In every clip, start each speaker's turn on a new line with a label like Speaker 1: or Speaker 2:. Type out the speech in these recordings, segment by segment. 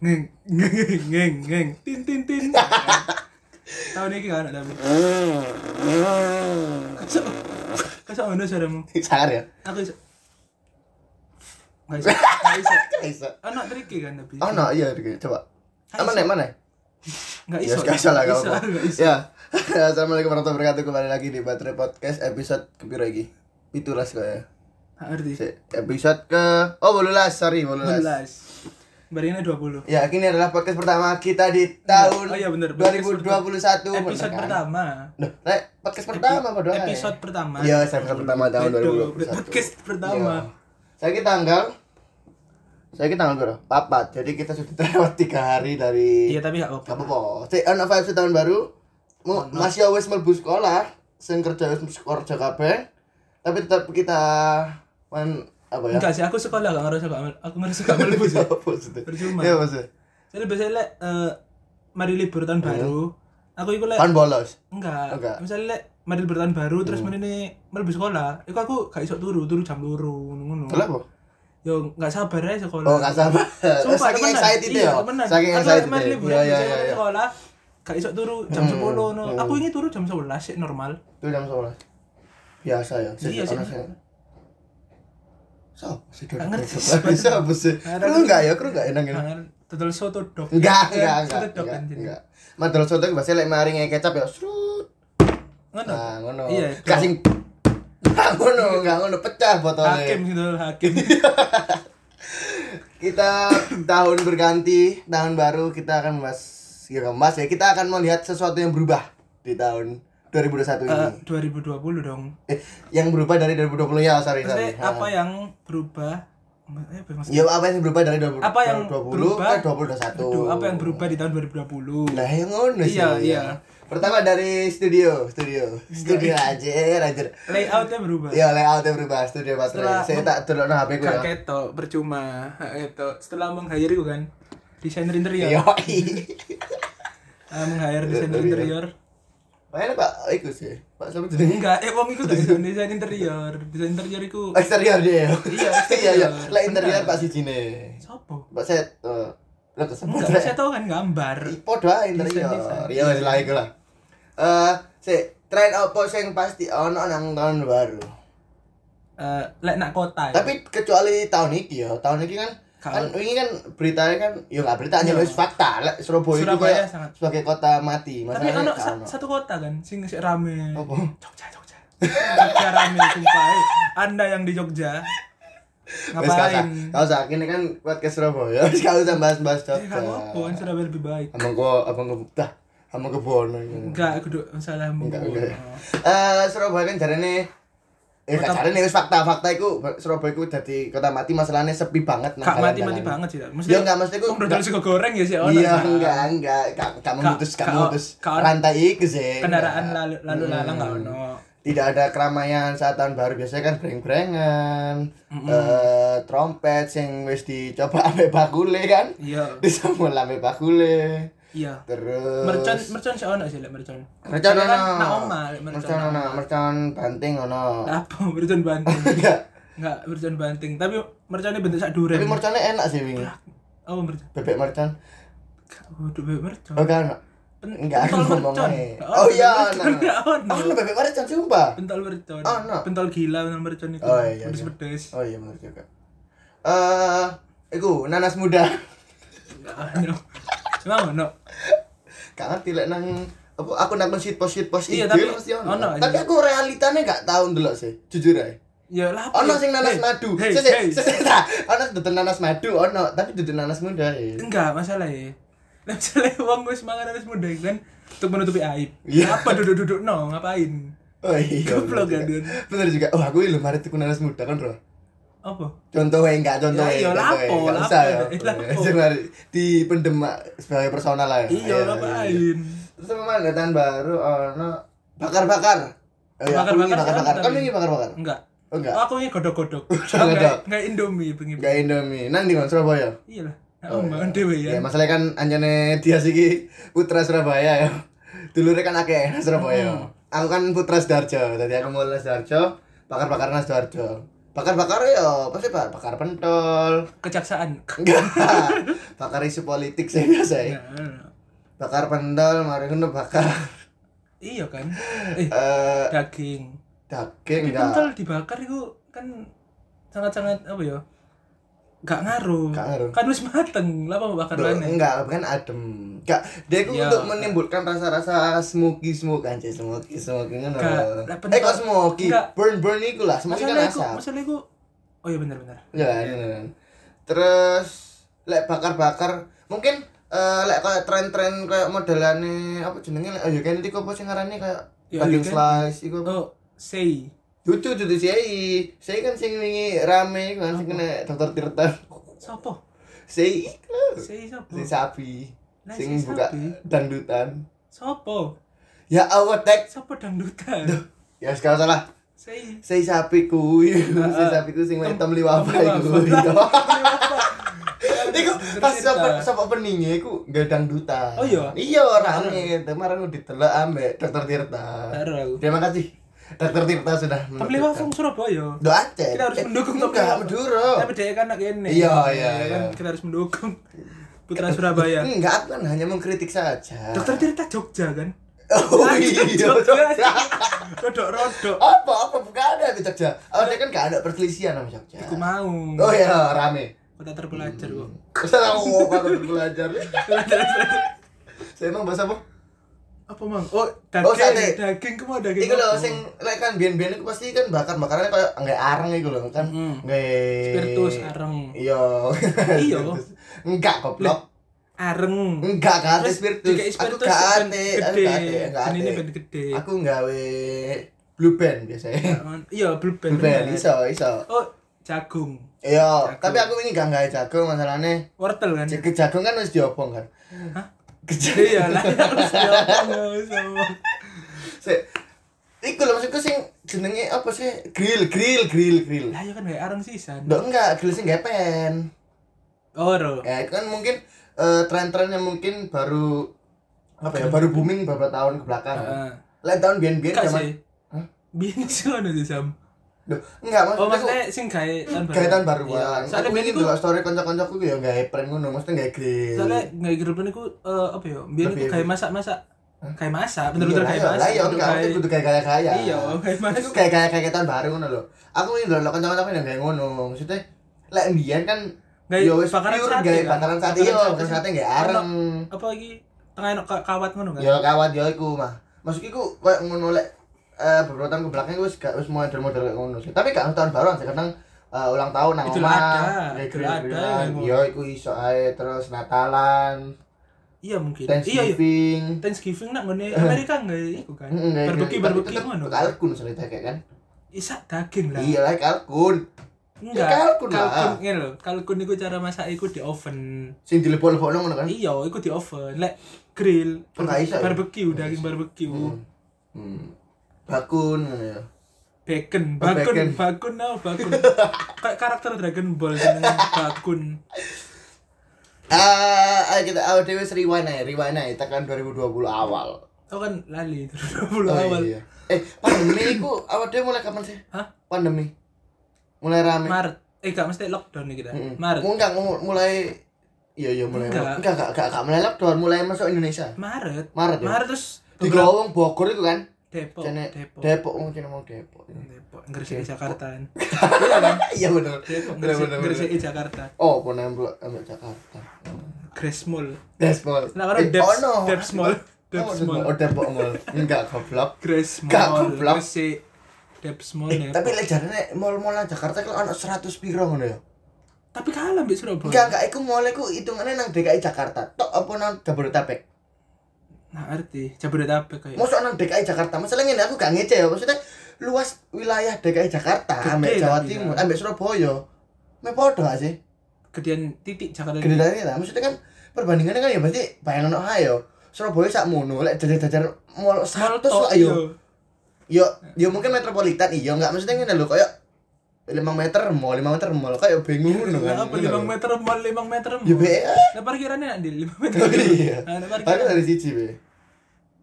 Speaker 1: Ngeng, ngeng, ngeng, ngeng, ngeng, tin, tin, tin. Tahu nih kan ada tapi.
Speaker 2: Hmm.
Speaker 1: Kaso, kaso ono suaramu.
Speaker 2: Sangar ya?
Speaker 1: Aku iso. Nggak iso, nggak iso.
Speaker 2: Gak bisa.
Speaker 1: Ono tricky kan tapi.
Speaker 2: Oh no, iya Riki. coba.
Speaker 1: Gak
Speaker 2: Aman
Speaker 1: iso.
Speaker 2: ya, mana?
Speaker 1: Nggak
Speaker 2: Ya,
Speaker 1: iso.
Speaker 2: gak salah
Speaker 1: nggak
Speaker 2: gak
Speaker 1: iso,
Speaker 2: apa-apa.
Speaker 1: nggak iso.
Speaker 2: Ya. Assalamualaikum warahmatullahi wabarakatuh. Kembali lagi di Baterai Podcast episode kepiro iki? Pitulas kok ya.
Speaker 1: Nggak ngerti.
Speaker 2: Si- Episode ke Oh, bolulas, sorry, bolulas.
Speaker 1: 11. Baringannya 20.
Speaker 2: Ya, ini adalah podcast pertama kita di tahun
Speaker 1: Oh, iya, bener. Podcast Episode
Speaker 2: 2021. bener kan?
Speaker 1: pertama.
Speaker 2: Loh, Rek, podcast pertama padahal. ya.
Speaker 1: Episode pertama.
Speaker 2: Iya, episode pertama tahun
Speaker 1: Betul,
Speaker 2: 2021.
Speaker 1: Podcast pertama.
Speaker 2: Iya. Saya kita tanggal Saya kita tanggal berapa? Papat. Jadi kita sudah terlewat tiga hari dari
Speaker 1: Iya, tapi nggak apa-apa.
Speaker 2: Gak apa-apa. Cek ana vibes tahun baru. Mu, masih wis mlebu sekolah, sing kerja wis kerja kabeh. Tapi tetap kita men apa ya?
Speaker 1: Enggak sih, aku sekolah gak ngerasa gak mel- aku ngerasa gak melebu sih.
Speaker 2: Apa maksudnya?
Speaker 1: Percuma.
Speaker 2: Iya, maksudnya.
Speaker 1: Jadi biasanya lek eh, mari libur tahun baru, aku iku lek
Speaker 2: Kan bolos.
Speaker 1: enggak.
Speaker 2: Iya. Enggak. Hmm.
Speaker 1: Misalnya lek mari libur tahun baru terus menene mlebu sekolah, iku aku gak iso turu, turu jam 2 ngono-ngono.
Speaker 2: Kenapa?
Speaker 1: Yo gak sabar ae sekolah.
Speaker 2: Oh, gak sabar.
Speaker 1: Sumpah,
Speaker 2: Saking
Speaker 1: temenan.
Speaker 2: excited
Speaker 1: Iya,
Speaker 2: ya.
Speaker 1: temenan.
Speaker 2: Saking
Speaker 1: Aku
Speaker 2: excited.
Speaker 1: main liburan
Speaker 2: Iya,
Speaker 1: misalnya
Speaker 2: iya, iya,
Speaker 1: ke
Speaker 2: iya. Hmm.
Speaker 1: sekolah gak iso turu jam 10 no. Aku ini turu jam 11 sih normal.
Speaker 2: Itu jam sekolah. Biasa ya. Sik,
Speaker 1: Iya, sik.
Speaker 2: ana sik. Sopo sih?
Speaker 1: Gak ngerti.
Speaker 2: Sopo sih? Kru enggak ya? Kru enggak enang ya?
Speaker 1: Nah, total soto dog.
Speaker 2: Enggak,
Speaker 1: Eh,
Speaker 2: enggak,
Speaker 1: Soto
Speaker 2: enggak.
Speaker 1: dog
Speaker 2: Enggak,
Speaker 1: kan jadi.
Speaker 2: enggak. Madol soto iku biasanya lek maringe kecap ya. Srut.
Speaker 1: Ngono.
Speaker 2: Nah, ngono.
Speaker 1: Iya,
Speaker 2: Gak sing Gak ngono, gak ngono pecah
Speaker 1: Hakim
Speaker 2: botolnya.
Speaker 1: sih total hakim.
Speaker 2: Kita tahun berganti, tahun baru kita akan membahas ya gak membahas ya. Kita akan melihat sesuatu yang berubah di tahun 2021 ini.
Speaker 1: Eh, 2020 dong.
Speaker 2: Eh, yang berubah dari 2020 ya, sorry,
Speaker 1: Maksudnya
Speaker 2: sorry. Ha.
Speaker 1: apa yang berubah? Eh, apa maksudnya?
Speaker 2: Ya apa yang berubah dari 2020
Speaker 1: Apa yang berubah?
Speaker 2: ke 2021?
Speaker 1: Aduh, apa yang berubah di tahun 2020?
Speaker 2: Nah, yang ngono sih.
Speaker 1: Iya,
Speaker 2: ya.
Speaker 1: iya.
Speaker 2: Pertama dari studio, studio. Studio aja, anjir.
Speaker 1: Layoutnya berubah.
Speaker 2: Iya, layoutnya berubah, studio
Speaker 1: Setelah-
Speaker 2: baterai. Saya tak delokno HP ku
Speaker 1: Gak
Speaker 2: ya.
Speaker 1: ketok, percuma. Gak ketok. Setelah meng-hire ku kan desainer interior.
Speaker 2: Iya.
Speaker 1: Ah, meng-hire desainer interior.
Speaker 2: Mana Pak iku sih? Pak sama jenenge.
Speaker 1: Enggak, eh wong iku gak iso desain interior. Desain interior iku
Speaker 2: Eksterior dia. ya?
Speaker 1: Iya,
Speaker 2: iya,
Speaker 1: eksterior.
Speaker 2: iya. Lah interior
Speaker 1: Bener.
Speaker 2: Pak sijine.
Speaker 1: sopo?
Speaker 2: Pak set. eh, Lah kesebut.
Speaker 1: Enggak, saya tahu kan gambar.
Speaker 2: Podo ae interior. Iya, wis lah iku lah. Eh, sik tren opo sing pasti ono nang tahun baru.
Speaker 1: Eh, lek nak kota. ya.
Speaker 2: Tapi kecuali tahun ini ya, tahun ini kan
Speaker 1: Kau-
Speaker 2: kan ini kan beritanya kan ya nggak berita aja wis fakta lah Surabaya, itu
Speaker 1: Iya. Surabaya
Speaker 2: kayak
Speaker 1: sangat.
Speaker 2: sebagai kota mati
Speaker 1: Tapi
Speaker 2: masalahnya
Speaker 1: ono
Speaker 2: nggak
Speaker 1: sa-
Speaker 2: ono. Oh.
Speaker 1: satu kota kan sing sik rame.
Speaker 2: Apa?
Speaker 1: Jogja, Jogja. Jogja rame sumpah. eh. Anda yang di Jogja.
Speaker 2: Wes gak usah,
Speaker 1: Ngapain?
Speaker 2: gak usah. Ini kan podcast Surabaya. Wes gak usah bahas-bahas
Speaker 1: Eh, Gak
Speaker 2: Jogja.
Speaker 1: apa-apa, kan Surabaya lebih baik.
Speaker 2: Abang gua, abang gua dah, abang gua bono. ini.
Speaker 1: Enggak, kudu salah mbuh.
Speaker 2: Enggak, enggak. Eh Surabaya kan jarane Eh,
Speaker 1: Iya.
Speaker 2: gak
Speaker 1: Kota-
Speaker 2: jarane wis fakta-fakta iku Surabaya iku dadi kota mati masalahnya sepi banget
Speaker 1: Kak mati-mati
Speaker 2: dalan-dalan.
Speaker 1: banget sih.
Speaker 2: Ya enggak mesti
Speaker 1: Kok
Speaker 2: iku.
Speaker 1: udah tulis sego goreng ya sih ono.
Speaker 2: Iya,
Speaker 1: Kak.
Speaker 2: enggak, enggak, enggak, enggak memutus, enggak
Speaker 1: kak-
Speaker 2: memutus
Speaker 1: kak-
Speaker 2: rantai iku sih.
Speaker 1: Kendaraan
Speaker 2: enggak. Hmm.
Speaker 1: lalu lalu lalang enggak ono.
Speaker 2: Tidak ada keramaian saat tahun baru biasanya kan breng-brengan,
Speaker 1: Hmm.
Speaker 2: eh trompet sing wis dicoba ampe bakule kan.
Speaker 1: Iya.
Speaker 2: Disambung ampe bakule.
Speaker 1: Iya.
Speaker 2: Terus
Speaker 1: Mercon mercon sih ono sih lek mercon.
Speaker 2: Mercon
Speaker 1: Soalnya kan
Speaker 2: ono.
Speaker 1: nak oma lek mercon.
Speaker 2: mercon ono, mercon banting ono.
Speaker 1: Apa mercon banting?
Speaker 2: Enggak.
Speaker 1: Enggak mercon banting, tapi merconnya bentuk sak duren.
Speaker 2: Tapi merconnya enak sih wingi.
Speaker 1: Oh, mercon.
Speaker 2: Bebek mercon.
Speaker 1: Waduh, bebek mercon.
Speaker 2: Oh kan.
Speaker 1: Hmm. Pen-
Speaker 2: Enggak aku
Speaker 1: pentol
Speaker 2: ngomong
Speaker 1: mercon.
Speaker 2: ae.
Speaker 1: Nggak
Speaker 2: Oh
Speaker 1: ono,
Speaker 2: iya,
Speaker 1: mercon nggak
Speaker 2: nah.
Speaker 1: ono.
Speaker 2: Oh, bebek mercon sumpah.
Speaker 1: Pentol mercon.
Speaker 2: Ono.
Speaker 1: Pentol gila pentol mercon itu.
Speaker 2: Oh, iya, iya.
Speaker 1: Pedes-pedes.
Speaker 2: Oh iya benar juga. Eh, iku nanas muda.
Speaker 1: Nggak ono. Emang ono.
Speaker 2: Gak ngerti lek nang apa aku nang sheet post sheet post
Speaker 1: Iya,
Speaker 2: IG
Speaker 1: tapi-
Speaker 2: mesti ono.
Speaker 1: ono aja.
Speaker 2: Tapi aku realitanya gak tahu ndelok sih, jujur ae.
Speaker 1: Ya lah. apa
Speaker 2: Ono
Speaker 1: ya?
Speaker 2: sing nanas
Speaker 1: Hei,
Speaker 2: madu.
Speaker 1: hei,
Speaker 2: Sik, sik,
Speaker 1: hei.
Speaker 2: sik, sik, tak. Ono dudu nanas madu ono, tapi dudu nanas muda ya.
Speaker 1: Enggak, masalah ya. Lah misalnya uang gue semangat harus muda kan untuk menutupi aib.
Speaker 2: Iya.
Speaker 1: Apa duduk-duduk no ngapain?
Speaker 2: Oh iya.
Speaker 1: Goblok,
Speaker 2: bener juga.
Speaker 1: Dun.
Speaker 2: Bener juga. Oh, aku lho mari tuku nanas muda kan, Bro.
Speaker 1: Apa?
Speaker 2: Contohnya enggak, contohnya
Speaker 1: Ya, iya,
Speaker 2: contohnya.
Speaker 1: lapo,
Speaker 2: Nggak
Speaker 1: lapo.
Speaker 2: usah ya.
Speaker 1: Eh, lapo.
Speaker 2: Sing mari di pendemak sebagai personal lah ya.
Speaker 1: Iya, ngapain?
Speaker 2: Terus sama mana tahun baru ono bakar-bakar. Oh, iya, aku
Speaker 1: Bakar-bakar
Speaker 2: ini bakar-bakar.
Speaker 1: sekarang,
Speaker 2: Kan
Speaker 1: tapi-
Speaker 2: ini bakar-bakar.
Speaker 1: Enggak.
Speaker 2: Oh enggak.
Speaker 1: Oh, aku ini godok-godok.
Speaker 2: Godok.
Speaker 1: Enggak Indomie pengen.
Speaker 2: Enggak Indomie. Nang di Surabaya.
Speaker 1: Iya lah. Oh, bangun dhewe ya.
Speaker 2: Ya masalah kan anjane dia siki putra Surabaya ya. Dulure kan akeh nang Surabaya.
Speaker 1: Hmm.
Speaker 2: Aku kan putra Sidoarjo, dadi aku mulai Sidoarjo, bakar-bakar nang Sidoarjo. Bakar-bakar ya pasti bakar, bakar pentol.
Speaker 1: Kejaksaan.
Speaker 2: Enggak. bakar isu politik sih biasa ya.
Speaker 1: Nah,
Speaker 2: Bakar pentol, mari ngono bakar.
Speaker 1: iya kan. Eh,
Speaker 2: Eh
Speaker 1: daging.
Speaker 2: daging enggak.
Speaker 1: Pentol dibakar itu kan sangat-sangat apa ya? Gak ngaruh.
Speaker 2: Gak ngaruh.
Speaker 1: Kan wis mateng, lah apa bakar
Speaker 2: Loh,
Speaker 1: mana?
Speaker 2: enggak kan adem enggak dia itu
Speaker 1: Ya.
Speaker 2: untuk menimbulkan rasa-rasa smoky smoke anjir smoky smoky ngono
Speaker 1: Enggak,
Speaker 2: lho.
Speaker 1: lah,
Speaker 2: eh
Speaker 1: bentar.
Speaker 2: kok smoky
Speaker 1: Enggak.
Speaker 2: burn burn iku lah smoky kan
Speaker 1: Masalah iku,
Speaker 2: asap
Speaker 1: masalah iku. Oh iya benar-benar.
Speaker 2: ya beneran. terus lek bakar-bakar mungkin eh, lek kayak tren-tren kayak modelane apa jenenge lek ayo kan iki apa sih ngarani kayak
Speaker 1: Ya, Ayo
Speaker 2: daging
Speaker 1: Candy.
Speaker 2: slice iku apa?
Speaker 1: Oh, say.
Speaker 2: Dudu dudu sei. Sei kan sing wingi rame iku kan sing kena dokter Tirta.
Speaker 1: Sopo?
Speaker 2: Sei iku.
Speaker 1: Say sopo?
Speaker 2: Si sapi.
Speaker 1: Lah,
Speaker 2: Sing
Speaker 1: si
Speaker 2: buka
Speaker 1: Oh. Nah, sapi.
Speaker 2: dangdutan.
Speaker 1: Sopo?
Speaker 2: Ya Allah tek.
Speaker 1: Sopo dangdutan?
Speaker 2: Ya sekarang salah.
Speaker 1: Say.
Speaker 2: Sei sapi kuwi,
Speaker 1: Ah.
Speaker 2: sei sapi kuwi sing wetem liwapa iku. Iya. Iku pas sapa sapa peninge iku gedang duta.
Speaker 1: Oh iya?
Speaker 2: Iya rame, kemarin udah ditelok ambek Dokter Tirta.
Speaker 1: Karo aku.
Speaker 2: Terima kasih. Dokter Tirta sudah
Speaker 1: Temli Wafung Surabaya.
Speaker 2: Do Aceh.
Speaker 1: Kita harus
Speaker 2: Eh,
Speaker 1: mendukung
Speaker 2: enggak,
Speaker 1: Temli Wafung.
Speaker 2: Madura.
Speaker 1: Tapi dia kan anak ini.
Speaker 2: Iya, iya,
Speaker 1: Ya kan?
Speaker 2: iya.
Speaker 1: Kita harus mendukung Putra Surabaya.
Speaker 2: Enggak, aku kan hanya mengkritik saja.
Speaker 1: Dokter Tirta Jogja kan?
Speaker 2: Oh iya. Jogja.
Speaker 1: Rodok-rodok.
Speaker 2: Apa apa bukan ada di Jogja. Oh, dia kan enggak ada perselisihan sama Jogja.
Speaker 1: Aku mau.
Speaker 2: Oh iya, Hmm. rame.
Speaker 1: Kota terpelajar kok.
Speaker 2: Salah ngomong baru belajar.
Speaker 1: Terpelajar.
Speaker 2: Saya emang bahasa apa?
Speaker 1: Apa mang? Oh,
Speaker 2: Oh, sate.
Speaker 1: daging. Daging kamu ada daging.
Speaker 2: Iku lho
Speaker 1: apa?
Speaker 2: sing lek kan biyen-biyen iku pasti kan bakar-bakarannya kaya nggak areng iku lho kan.
Speaker 1: Hmm.
Speaker 2: Nggak
Speaker 1: Spiritus areng.
Speaker 2: Iya.
Speaker 1: Iya.
Speaker 2: Spiritus. Enggak goblok.
Speaker 1: Areng.
Speaker 2: Enggak gak ate
Speaker 1: Terus
Speaker 2: spiritus.
Speaker 1: dikai
Speaker 2: Aku
Speaker 1: spiritus
Speaker 2: gak
Speaker 1: ben
Speaker 2: ate, aku
Speaker 1: gede.
Speaker 2: gak ate, gak ate.
Speaker 1: Jenine ben gede.
Speaker 2: Aku nggawe blue band biasanya.
Speaker 1: Iya, blue band.
Speaker 2: Blue band
Speaker 1: bener.
Speaker 2: iso iso.
Speaker 1: Oh, jagung.
Speaker 2: Iya,
Speaker 1: Jagung.
Speaker 2: tapi aku ini gak nggawe jagung masalahnya
Speaker 1: Wortel kan?
Speaker 2: ke jagung kan harus diopong kan.
Speaker 1: Hah?
Speaker 2: Kejagung.
Speaker 1: Iya lah, harus diomong, harus diomong.
Speaker 2: Sik. Iku lho maksudku sing jenenge apa sih? Grill, grill, grill, grill.
Speaker 1: Lah ya kan kayak arang sisan.
Speaker 2: Ndak enggak, grill sing gepen.
Speaker 1: Oro.
Speaker 2: Ya itu kan mungkin eh, tren-tren yang mungkin baru apa ya, baru booming beberapa tahun ke belakang.
Speaker 1: Heeh.
Speaker 2: Lain tahun biyen-biyen
Speaker 1: Enggak
Speaker 2: zaman
Speaker 1: sih.
Speaker 2: Hah?
Speaker 1: Biyen sih ngono sih Sam.
Speaker 2: Duh, enggak
Speaker 1: Oh,
Speaker 2: maksudnya
Speaker 1: maksudnya sing gawe tahun baru.
Speaker 2: kayak tahun baru
Speaker 1: Iya. Soalnya
Speaker 2: Aku
Speaker 1: biyen
Speaker 2: ini
Speaker 1: iku
Speaker 2: dulu story kanca-kancaku ya enggak prank ngono, maksudnya enggak grill.
Speaker 1: soalnya gawe grup niku eh, apa ya? Biyen iku
Speaker 2: Lebih-
Speaker 1: gawe masak-masak. Gawe masak, bener-bener
Speaker 2: Iya,
Speaker 1: gawe
Speaker 2: lah,
Speaker 1: masak.
Speaker 2: Lah iya
Speaker 1: bener
Speaker 2: enggak
Speaker 1: gawe-
Speaker 2: aku kudu kayak kaya-kaya.
Speaker 1: Iya, gawe masak.
Speaker 2: Aku kayak kaya-kaya tahun baru ngono lho. Aku ini lho kanca-kancaku yang kayak ngono. Maksudnya lek mbiyen kan
Speaker 1: Gawe
Speaker 2: ya wis
Speaker 1: bakaran
Speaker 2: pure
Speaker 1: sate,
Speaker 2: gawe
Speaker 1: kan?
Speaker 2: bakaran sate
Speaker 1: Bakaran
Speaker 2: yo,
Speaker 1: sate.
Speaker 2: bakaran sate enggak
Speaker 1: Ono-
Speaker 2: areng.
Speaker 1: Apa iki tengah enak ka- kawat ngono kan?
Speaker 2: Ya kawat yo iku mah. Maksudku iku koyo ngono lek eh beberapa tahun ke belakang iku wis gak wis model-model kayak ngono sih. Tapi gak tahun baru sih kadang eh, ulang tahun nang
Speaker 1: Idul Adha,
Speaker 2: omah.
Speaker 1: Idul Adha
Speaker 2: grill-grillan.
Speaker 1: yang ngono.
Speaker 2: Yo iku iso ae terus Natalan,
Speaker 1: Iya mungkin. Iya, iya.
Speaker 2: Thanksgiving.
Speaker 1: Thanksgiving nak ngene Amerika enggak iku kan.
Speaker 2: Heeh, kayak- gitu.
Speaker 1: Barbeque
Speaker 2: tapi
Speaker 1: barbeque
Speaker 2: tetep
Speaker 1: ngono.
Speaker 2: Kalkun cerita kayak kan.
Speaker 1: Isak daging lah.
Speaker 2: Iya lah kalkun.
Speaker 1: Enggak.
Speaker 2: Ya, kalkun lah.
Speaker 1: kalkun ngene lho. Kalkun niku cara masak iku di oven.
Speaker 2: Sing dilepon-lepon ngono kan.
Speaker 1: Iya, iku di oven. Lek grill,
Speaker 2: Oh, nggak iso ya?
Speaker 1: barbecue, daging barbecue,
Speaker 2: Hmm. Mm. Bakun ngono ya.
Speaker 1: bacon,
Speaker 2: Oh,
Speaker 1: bakun,
Speaker 2: bacon.
Speaker 1: bakun, no, bakun. Kayak karakter Dragon Ball jenenge bakun.
Speaker 2: Ah, ayo kita awal dewe rewind ae, rewind ae tekan 2020 awal.
Speaker 1: Oh kan lali terus 20
Speaker 2: Oh,
Speaker 1: awal.
Speaker 2: iya. Eh, pandemi iku awal dewe mulai kapan sih?
Speaker 1: Hah?
Speaker 2: Pandemi. Mulai rame.
Speaker 1: Maret. Eh gak mesti lockdown nih kita.
Speaker 2: iya. Mm-mm.
Speaker 1: Maret.
Speaker 2: Enggak mu- mulai Iya iya mulai.
Speaker 1: Enggak.
Speaker 2: Enggak enggak enggak, enggak mulai lockdown, mulai masuk Indonesia.
Speaker 1: Maret.
Speaker 2: Maret ya?
Speaker 1: Maret terus
Speaker 2: Di
Speaker 1: beberapa-
Speaker 2: Glowong Bogor itu kan.
Speaker 1: Depok,
Speaker 2: Cene
Speaker 1: Depok.
Speaker 2: Depok mungkin mau Depok.
Speaker 1: Depok, Gresik
Speaker 2: Oh,
Speaker 1: Jakarta.
Speaker 2: Iya bener.
Speaker 1: kan? Depok,
Speaker 2: Bener
Speaker 1: Gresik,
Speaker 2: bener. bener.
Speaker 1: Gresik Jakarta.
Speaker 2: Oh, pun ambil ambil Jakarta.
Speaker 1: Gresmol.
Speaker 2: Depok.
Speaker 1: Nah, kalau
Speaker 2: oh,
Speaker 1: Deps, Deps Mall.
Speaker 2: Depok
Speaker 1: Deps Mall.
Speaker 2: Eh, Oh, Depok Mall. Enggak goblok.
Speaker 1: Grace
Speaker 2: Gak
Speaker 1: Mall,
Speaker 2: goblok.
Speaker 1: Gresik, Depps Mall
Speaker 2: Eh,
Speaker 1: ya.
Speaker 2: tapi lek jarane mall-mall Jakarta kalau ono 100 piro ngono ya.
Speaker 1: Oh, Tapi kalah mbak Surabaya.
Speaker 2: Enggak, enggak iku mall iku hitungane nang DKI Jakarta. Tok apa nang Jabodetabek?
Speaker 1: Nah, arti Jabodetabek kayak.
Speaker 2: Mosok nang DKI Jakarta. Masalah ngene aku gak ngece ya. Maksudnya luas wilayah DKI Jakarta ambek
Speaker 1: Gede
Speaker 2: Jawa
Speaker 1: tapi,
Speaker 2: Timur,
Speaker 1: kan?
Speaker 2: ambek Surabaya. Me podo gak sih?
Speaker 1: Iya. gedean titik Jakarta
Speaker 2: Gede dari lah. Maksudnya kan perbandingannya kan ya berarti bayangan ono ae yo. Surabaya sak mono lek jajar-jajar mall 100
Speaker 1: Tok,
Speaker 2: lah yo.
Speaker 1: iya.
Speaker 2: Yo, yo mungkin metropolitan iya enggak maksudnya ngene lho koyo lima meter mall lima meter mall kayak bingung ngono
Speaker 1: Lah
Speaker 2: kan
Speaker 1: Iya, apa 5 meter mal 5 meter.
Speaker 2: ya be
Speaker 1: Lah parkirannya nak di 5 meter.
Speaker 2: iya
Speaker 1: Ah, ada parkiran.
Speaker 2: kan dari siji be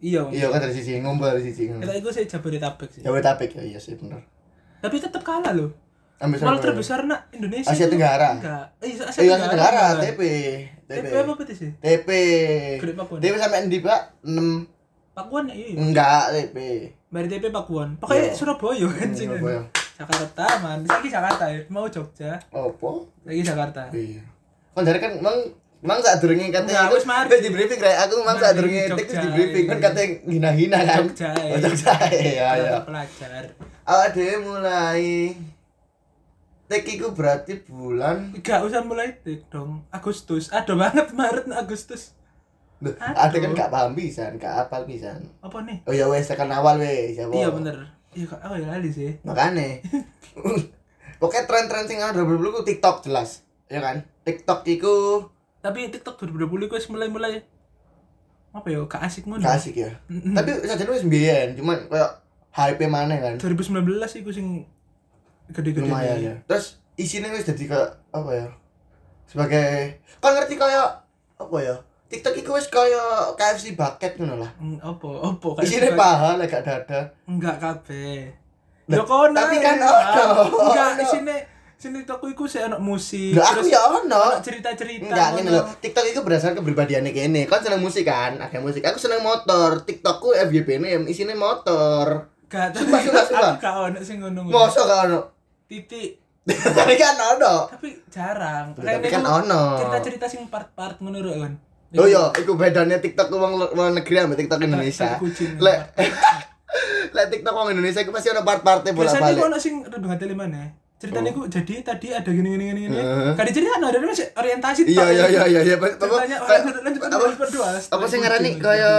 Speaker 1: Iya. Om.
Speaker 2: iya kan dari siji ngumpul dari siji
Speaker 1: Kita itu saya Jabodetabek sih.
Speaker 2: Jabodetabek ya iya sih bener
Speaker 1: Tapi tetap kalah loh.
Speaker 2: ambil Iya,
Speaker 1: Mal
Speaker 2: Surabaya.
Speaker 1: terbesar nak Indonesia.
Speaker 2: Asia
Speaker 1: itu
Speaker 2: Tenggara.
Speaker 1: Enggak. Eh, Asia
Speaker 2: iya Asia Tenggara
Speaker 1: enggak.
Speaker 2: TP TP
Speaker 1: TP apa PT sih?
Speaker 2: TP
Speaker 1: Gede Pakuan.
Speaker 2: TP sampai endi pak 6
Speaker 1: Pakuan ya iya.
Speaker 2: enggak TP
Speaker 1: Mari TP Pakuan. Pakai
Speaker 2: Hmm. Iya.
Speaker 1: Surabaya anjing.
Speaker 2: Surabaya.
Speaker 1: Jakarta man. Saiki Jakarta ya. Mau Jogja.
Speaker 2: opo
Speaker 1: Saiki Jakarta.
Speaker 2: iya kan dari kan emang emang saat durungnya katanya
Speaker 1: Enggak, wis mari.
Speaker 2: di briefing kayak aku emang saat
Speaker 1: Mari,
Speaker 2: durungnya tik
Speaker 1: Jogja,
Speaker 2: di briefing kan
Speaker 1: iya.
Speaker 2: katanya hina-hina kan
Speaker 1: Jogja, iya.
Speaker 2: Oh, Jogja iya iya
Speaker 1: Jakarta pelajar.
Speaker 2: awak dhewe mulai tik iku berarti bulan
Speaker 1: Enggak usah mulai tik dong. Agustus. Aduh banget Maret Agustus.
Speaker 2: Duh,
Speaker 1: Aduh.
Speaker 2: ada kan gak paham pisan gak apal pisan
Speaker 1: Apa nih?
Speaker 2: oh ya wes tekan awal wes ya
Speaker 1: Iya bener. Iya kok aku ya lali sih.
Speaker 2: makane pokoknya tren-tren sing ada dulu ku TikTok jelas ya kan TikTok iku
Speaker 1: Tapi TikTok 2020 gue mulai-mulai apa ya? Gak asik ngono.
Speaker 2: gak asik ya
Speaker 1: Mm-mm.
Speaker 2: tapi sajane wis mbiyen cuman kayak hype mana kan
Speaker 1: 2019 sih gue sing gede-gede.
Speaker 2: lumayan ya terus isinya wis jadi kayak apa ya sebagai kan ngerti kayak apa ya TikTok iku wis kayak KFC bucket ngono lah
Speaker 1: Mm, Apa? Apa kayak
Speaker 2: isinya
Speaker 1: gitu.
Speaker 2: paha lah gak dada
Speaker 1: Enggak kabeh.
Speaker 2: Lah,
Speaker 1: Yo kono.
Speaker 2: tapi kan
Speaker 1: ya.
Speaker 2: ono,
Speaker 1: Enggak
Speaker 2: ono.
Speaker 1: sini sini toko iku sih ono musik.
Speaker 2: Lah aku ya ono.
Speaker 1: cerita-cerita.
Speaker 2: Enggak
Speaker 1: ngono.
Speaker 2: ngene lho. TikTok itu berdasarkan kepribadiannya kene. Kan seneng musik kan? Ada musik. Aku seneng motor. TikTokku FYP-ne yang isine motor.
Speaker 1: Enggak, tapi
Speaker 2: Sumpah, sumpah, sumpah.
Speaker 1: aku gak ono sing ngono.
Speaker 2: Mosok gak ono.
Speaker 1: Titik.
Speaker 2: Tapi kan ono.
Speaker 1: Tapi jarang.
Speaker 2: Tapi
Speaker 1: Kayaknya
Speaker 2: kan
Speaker 1: tuh
Speaker 2: ono.
Speaker 1: Cerita-cerita sing part-part ngono lho, kan.
Speaker 2: Oh iya, iku bedanya TikTok wong wong negeri sama TikTok Indonesia.
Speaker 1: kucing.
Speaker 2: Lek Lek TikTok wong Indonesia iku pasti ono
Speaker 1: Biasanya
Speaker 2: part-parte
Speaker 1: gue
Speaker 2: bolak-balik. Oh.
Speaker 1: ono sing rebung hati mana? Ceritanya gue jadi tadi ada gini gini gini gini.
Speaker 2: Heeh.
Speaker 1: Kadang cerita ada ada masih orientasi.
Speaker 2: Iya
Speaker 1: tok.
Speaker 2: iya iya iya iya. Apa-
Speaker 1: Ceritanya
Speaker 2: apa-
Speaker 1: orang lanjut lanjut
Speaker 2: apa-
Speaker 1: lanjut berdua.
Speaker 2: Apa sih ngarani kaya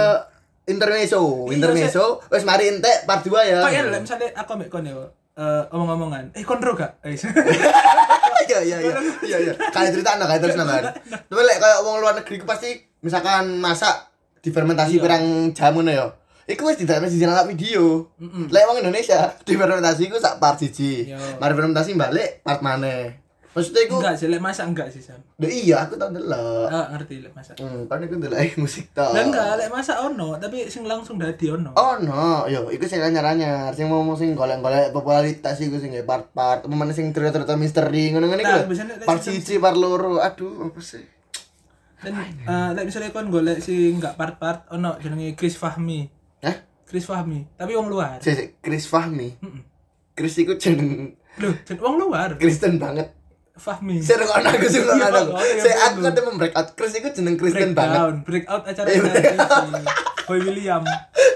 Speaker 2: intermezzo,
Speaker 1: Iya,
Speaker 2: intermezzo, wes mari entek part 2 ya.
Speaker 1: Kau ya lah misalnya aku ambil kon ya eh, omong-omongan. Eh kon ro gak? Eh,
Speaker 2: iya iya iya iya iya kalian cerita no kalian terus nambahan tapi lek kayak wong luar negeri ku pasti misalkan masak difermentasi
Speaker 1: Iya.
Speaker 2: pirang jamu no yo ya. Iku wis tidak mesti jalan video.
Speaker 1: Mm-mm.
Speaker 2: Lek wong Indonesia difermentasi ku sak part siji.
Speaker 1: Yo.
Speaker 2: Mari fermentasi balik part maneh. Maksudnya iku
Speaker 1: enggak sih, lek masa enggak sih Sam.
Speaker 2: Duh, iya aku tau delok.
Speaker 1: Ah ngerti lek masa.
Speaker 2: Hmm, kan iku delok musik tok.
Speaker 1: Lah enggak lek masa ono, tapi sing langsung dadi ono.
Speaker 2: Oh no, yo, iku sing anyar-anyar, sing mau sing golek-golek popularitas iku sing ya, part-part, momen sing cerita-cerita misteri ngono-ngono iku.
Speaker 1: Nah,
Speaker 2: lho.
Speaker 1: biasanya lek
Speaker 2: Part
Speaker 1: sistem-
Speaker 2: siji, part loro. Aduh, apa sih?
Speaker 1: Dan eh, lek misalnya kon golek sing enggak part-part ono jenenge Chris Fahmi.
Speaker 2: Hah?
Speaker 1: Chris Fahmi, tapi wong luar.
Speaker 2: Sik, sik, Chris Fahmi.
Speaker 1: Mm-mm.
Speaker 2: Chris iku jeneng
Speaker 1: Loh, jen- wong luar.
Speaker 2: Kristen banget.
Speaker 1: Fahmi.
Speaker 2: Saya rungokno aku sing
Speaker 1: Iya,
Speaker 2: rungokno aku.
Speaker 1: iya,
Speaker 2: Saya aku
Speaker 1: iya.
Speaker 2: kan break out Chris iku jeneng Kristen
Speaker 1: breakdown,
Speaker 2: banget.
Speaker 1: breakout acara
Speaker 2: Iya,
Speaker 1: nanti Boy William.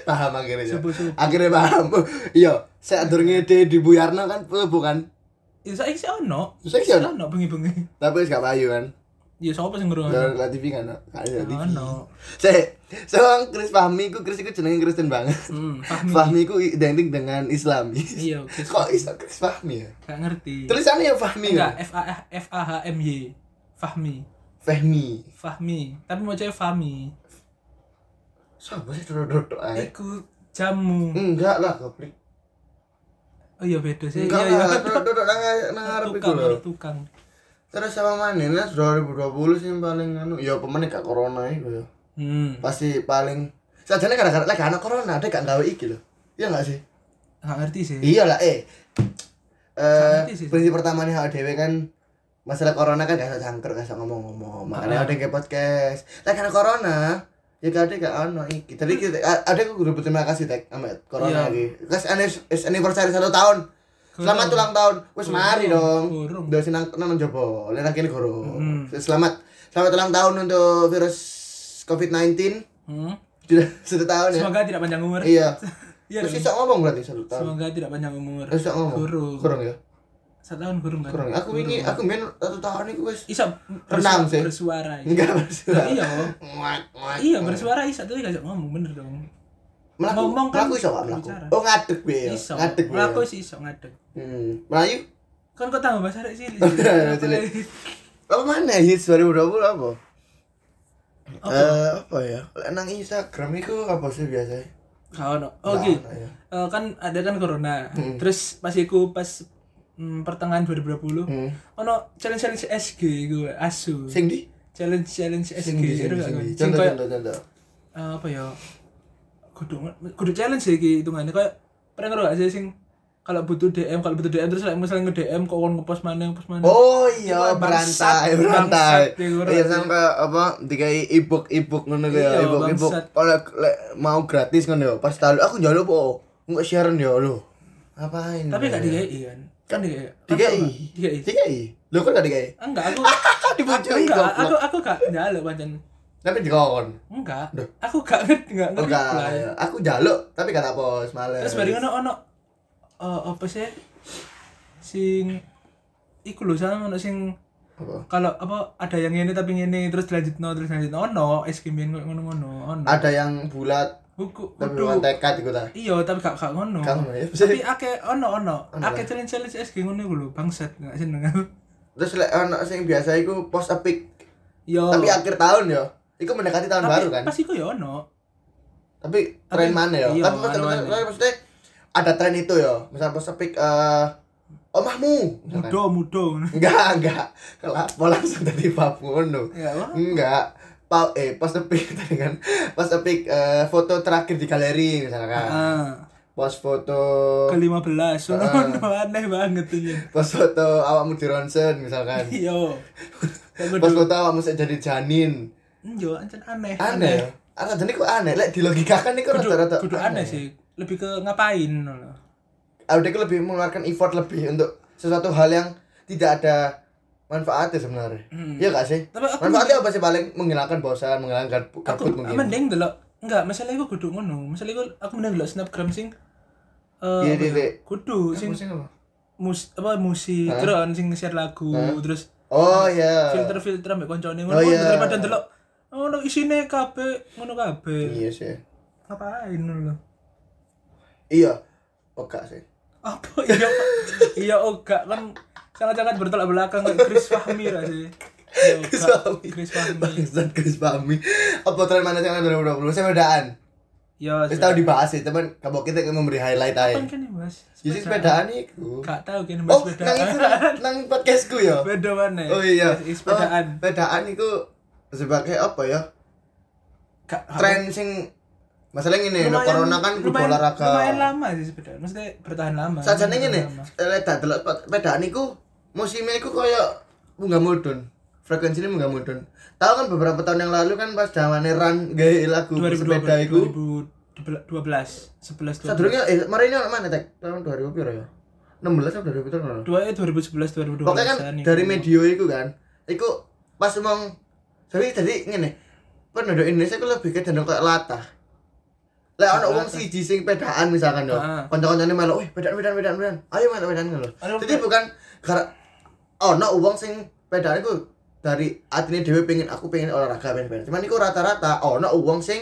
Speaker 2: Paham akhirnya. ya.
Speaker 1: Subuh-subuh.
Speaker 2: Akhirnya paham. Iya, saya durunge di di Bu Yarno kan bukan.
Speaker 1: Ya saiki sih ono.
Speaker 2: Saiki sih ono.
Speaker 1: ono bengi-bengi.
Speaker 2: Tapi wis gak payu kan.
Speaker 1: Ya sapa sing ngrungokno? Ya,
Speaker 2: Dari TV kan. Gak ada TV.
Speaker 1: Ono.
Speaker 2: Saya seorang Chris Fahmi iku Chris iku jenenge Kristen banget.
Speaker 1: Hmm, Fahmi.
Speaker 2: Fahmi iku identik dengan Islamis.
Speaker 1: Iya, Chris
Speaker 2: Kok iso Chris Fahmi ya?
Speaker 1: Gak ngerti.
Speaker 2: Tulisannya ya Fahmi
Speaker 1: Enggak,
Speaker 2: kan?
Speaker 1: F A F A H M Y. Fahmi.
Speaker 2: Fahmi.
Speaker 1: Fahmi. Tapi mau cewek Fahmi.
Speaker 2: Sama sih dodok ae.
Speaker 1: Iku jamu.
Speaker 2: Enggak lah, goblok.
Speaker 1: Oh iya beda sih.
Speaker 2: Enggak
Speaker 1: Iya
Speaker 2: lah,
Speaker 1: iya.
Speaker 2: duduk- duduk nang nang ngarep iku
Speaker 1: Tukang,
Speaker 2: lho.
Speaker 1: ada tukang.
Speaker 2: Terus sama Manila 2020 sih yang paling anu, ya pemain gak corona iku ya.
Speaker 1: Hmm.
Speaker 2: Pasti paling sajane gara-gara lek gak ana corona, dek gak gawe iki lho. Iya gak sih?
Speaker 1: Gak ngerti sih.
Speaker 2: Iya lah, eh. Eh,
Speaker 1: ngerti sih.
Speaker 2: prinsip pertamanya awake dhewe kan masalah corona kan gak usah jangkrik, gak usah ngomong-ngomong. Makanya ada kayak podcast. Lek gak ada corona, ya gak ada gak ana iki. Tadi kita ada aku kudu berterima kasih tek sama corona
Speaker 1: Hmm. Iya.
Speaker 2: iki. Kas anis- is anniversary satu tahun. Selamat ulang tahun. Wis mari dong.
Speaker 1: Burung.
Speaker 2: Udah senang nang jopo, lek nang kene goro.
Speaker 1: Hmm.
Speaker 2: Selamat selamat ulang tahun untuk virus COVID-19.
Speaker 1: Hmm.
Speaker 2: Sudah satu tahun ya.
Speaker 1: Semoga tidak panjang umur.
Speaker 2: Iya.
Speaker 1: Iya.
Speaker 2: Terus
Speaker 1: dong.
Speaker 2: bisa ngomong berarti satu tahun.
Speaker 1: Semoga tidak panjang umur.
Speaker 2: Terus bisa ngomong.
Speaker 1: Burung.
Speaker 2: Kurang ya.
Speaker 1: Satu tahun burung kan.
Speaker 2: Kurang. ya? Aku
Speaker 1: Burung.
Speaker 2: ini aku main satu tahun iku wis
Speaker 1: Isa
Speaker 2: Renang
Speaker 1: bersu-
Speaker 2: sih.
Speaker 1: Bersuara. ya.
Speaker 2: enggak bersuara.
Speaker 1: Iya.
Speaker 2: Nguak, nguak,
Speaker 1: Iya
Speaker 2: nguak.
Speaker 1: bersuara Isa tapi gak bisa ngomong bener dong.
Speaker 2: Melaku,
Speaker 1: Ngomong kan
Speaker 2: melaku iso gak melaku?
Speaker 1: berbicara.
Speaker 2: Oh ngadeg be ya.
Speaker 1: Iso.
Speaker 2: Ngadeg be. ya.
Speaker 1: Melaku sih iso ngadeg.
Speaker 2: Hmm. Melayu.
Speaker 1: Kan kok tambah bahasa Arab sih. Lis?
Speaker 2: Iya, cilik. Apa mana hits 2020 apa?
Speaker 1: Apa?
Speaker 2: Eh, apa ya? Lek nang Instagram iku apa sih biasanya?
Speaker 1: Gak ono.
Speaker 2: Gak
Speaker 1: Oke.
Speaker 2: ono ya.
Speaker 1: Eh, kan ada kan corona. Terus pas iku pas hmm, pertengahan 2020
Speaker 2: Hmm.
Speaker 1: ono challenge challenge SG iku asu
Speaker 2: Sing di?
Speaker 1: challenge challenge SG
Speaker 2: Sing di, sing
Speaker 1: itu
Speaker 2: di,
Speaker 1: gak
Speaker 2: sing di.
Speaker 1: kan sing
Speaker 2: Contoh,
Speaker 1: kayak
Speaker 2: contoh, contoh.
Speaker 1: eh, apa ya kudu kudu challenge sih iki hitungannya kayak pernah ngerti gak sih sing kalau butuh DM kalau butuh DM terus like, misalnya nge DM kok wong ngepost mana ngepost mana
Speaker 2: Oh
Speaker 1: Iya,
Speaker 2: iya,
Speaker 1: bangsat,
Speaker 2: berantai, berantai.
Speaker 1: bangsat, ya, gue
Speaker 2: Iya,
Speaker 1: ngerti.
Speaker 2: sampe apa dikai ibuk ibuk ngono ku
Speaker 1: Iya,
Speaker 2: ya, ibuk ibuk.
Speaker 1: bangsat.
Speaker 2: Oleh lek mau gratis ngono ya. Pas tahu aku njaluk po. Enggak sharean ya lho. Apain?
Speaker 1: tapi gak
Speaker 2: dikai.
Speaker 1: dikai kan kan dikai
Speaker 2: Dikai.
Speaker 1: dikai
Speaker 2: Dikai. Lho kok gak dikai?
Speaker 1: enggak aku
Speaker 2: Dibujuk
Speaker 1: enggak
Speaker 2: goblok.
Speaker 1: aku aku gak nyaluk pancen
Speaker 2: Tapi dikon.
Speaker 1: enggak
Speaker 2: Duh.
Speaker 1: aku gak ngerti enggak
Speaker 2: Oh
Speaker 1: ngerti
Speaker 2: enggak, ya. aku njaluk tapi gak tak post malah.
Speaker 1: terus bareng ono ono eh, apa sih sing iku lho sama ono sing
Speaker 2: Apa?
Speaker 1: kalau apa ada yang ini tapi ini terus lanjut no terus lanjut no ono es kimian ngono ngono ono
Speaker 2: Ada yang bulat
Speaker 1: buku
Speaker 2: tapi
Speaker 1: kudu
Speaker 2: bukan tekad iku ta.
Speaker 1: iya tapi gak gak ngono
Speaker 2: Kamu ya. bisa.
Speaker 1: tapi ake ono ono
Speaker 2: Ono
Speaker 1: ake challenge challenge es ngono iku lho bangsat gak seneng aku
Speaker 2: Terus lek ono sing biasa iku post a pic.
Speaker 1: yo
Speaker 2: Tapi akhir tahun ya. Iku mendekati
Speaker 1: Oh.
Speaker 2: tahun
Speaker 1: Tapi
Speaker 2: baru kan.
Speaker 1: pas iku yo ono
Speaker 2: tapi tren
Speaker 1: Tapi-
Speaker 2: mana ya?
Speaker 1: iya,
Speaker 2: tapi maksudnya,
Speaker 1: anu-anu.
Speaker 2: maksudnya, maksudnya ada tren itu ya. Misal pas pick eh omahmu. misalkan.
Speaker 1: mudo mudo
Speaker 2: Enggak, enggak. Kelak pola langsung dari Papuno.
Speaker 1: ya wah
Speaker 2: Enggak. Pa, eh pas pick tadi kan. Pas pick eh, foto terakhir di galeri
Speaker 1: Ah.
Speaker 2: misalkan. Pas foto
Speaker 1: ke lima belas
Speaker 2: Ah.
Speaker 1: aneh banget iya. ini
Speaker 2: pas foto awakmu di ronsen misalkan.
Speaker 1: yo
Speaker 2: Pas foto awakmu sek jadi janin.
Speaker 1: Yo, anjir Eh, aneh.
Speaker 2: Aneh. ya? Aneh, jadi kok aneh. Lek dilogikakan itu
Speaker 1: Kudu,
Speaker 2: rata-rata
Speaker 1: kudu aneh sih. Lebih ke ngapain ngono.
Speaker 2: Audeku lebih mengeluarkan effort lebih untuk sesuatu hal yang tidak ada manfaatnya sebenarnya.
Speaker 1: Hmm.
Speaker 2: Iya gak sih?
Speaker 1: Tapi aku
Speaker 2: Manfaatnya apa sih paling menghilangkan bosan, menghilangkan garpu-
Speaker 1: aku
Speaker 2: kabut mungkin.
Speaker 1: mending delok enggak, masalah iku kudu ngono. Masalah iku aku mending delok snapgram sing eh
Speaker 2: Iya,
Speaker 1: apa
Speaker 2: iya,
Speaker 1: ya?
Speaker 2: iya.
Speaker 1: kudu sing mus apa musik
Speaker 2: Hah?
Speaker 1: terus sing share lagu
Speaker 2: Hah?
Speaker 1: terus
Speaker 2: Oh iya.
Speaker 1: filter-filter ambek koncone ngono
Speaker 2: Oh, iya.
Speaker 1: daripada delok ngono isine kabeh ngono kabeh.
Speaker 2: Iya sih.
Speaker 1: Ngapain ngono lho.
Speaker 2: Iya. Oke sih.
Speaker 1: Apa iya iya oga kan sangat-sangat bertolak belakang kayak Chris Fahmi ra sih. Iya, Oga.
Speaker 2: Chris Fahmi.
Speaker 1: Chris Fahmi.
Speaker 2: Bangsat Chris Fahmi. Apa tren mana sih yang 2020? Sepedaan.
Speaker 1: Ya,
Speaker 2: Wis tahu dibahas sih, cuman kamu kita kayak memberi highlight aja.
Speaker 1: kan ini mas?
Speaker 2: Jadi sepedaan iku.
Speaker 1: Gak tau kan mas
Speaker 2: Oh,
Speaker 1: sepeda. Ah,
Speaker 2: nang itu nang- nang podcastku ya.
Speaker 1: Beda mana?
Speaker 2: Oh iya.
Speaker 1: Mas, Sepedaan.
Speaker 2: Oh, sepedaan itu sebagai apa ya?
Speaker 1: Gak-
Speaker 2: tren sing masalah ini lo
Speaker 1: lumayan-
Speaker 2: corona kan kudu
Speaker 1: lumayan-
Speaker 2: olahraga
Speaker 1: Lumayan lama sih sepedaan. Maksudnya bertahan lama.
Speaker 2: sajane
Speaker 1: Bertahan
Speaker 2: ngene
Speaker 1: lama.
Speaker 2: lek dak delok pedaan iku musimnya iku koyo munggah mudhun frekuensinya munggah mudhun tahu kan beberapa tahun yang lalu kan pas zamane run gawe lagu
Speaker 1: 2012,
Speaker 2: sepeda iku
Speaker 1: 2012, 11 12.
Speaker 2: sadurunge eh mari ini ono mana tek tahun 2000 piro ya 16 atau 2000 tahun lalu
Speaker 1: Dua eh 2011 2012.
Speaker 2: pokoknya kan dari media iku kan iku pas mong jadi jadi ngene penduduk Indonesia iku lebih kecenderung kayak latah lek ono wong
Speaker 1: Latah.
Speaker 2: siji sing pedaan misalkan yo
Speaker 1: Heeh.
Speaker 2: kanca-kancane melu wih pedaan pedaan pedaan pedaan ayo main pedaan ngono
Speaker 1: Ayo,
Speaker 2: jadi
Speaker 1: pe-
Speaker 2: bukan karena ono wong sing pedaan iku dari atine dhewe pengen aku pengen olahraga pengen pengen cuman iku rata-rata ono wong sing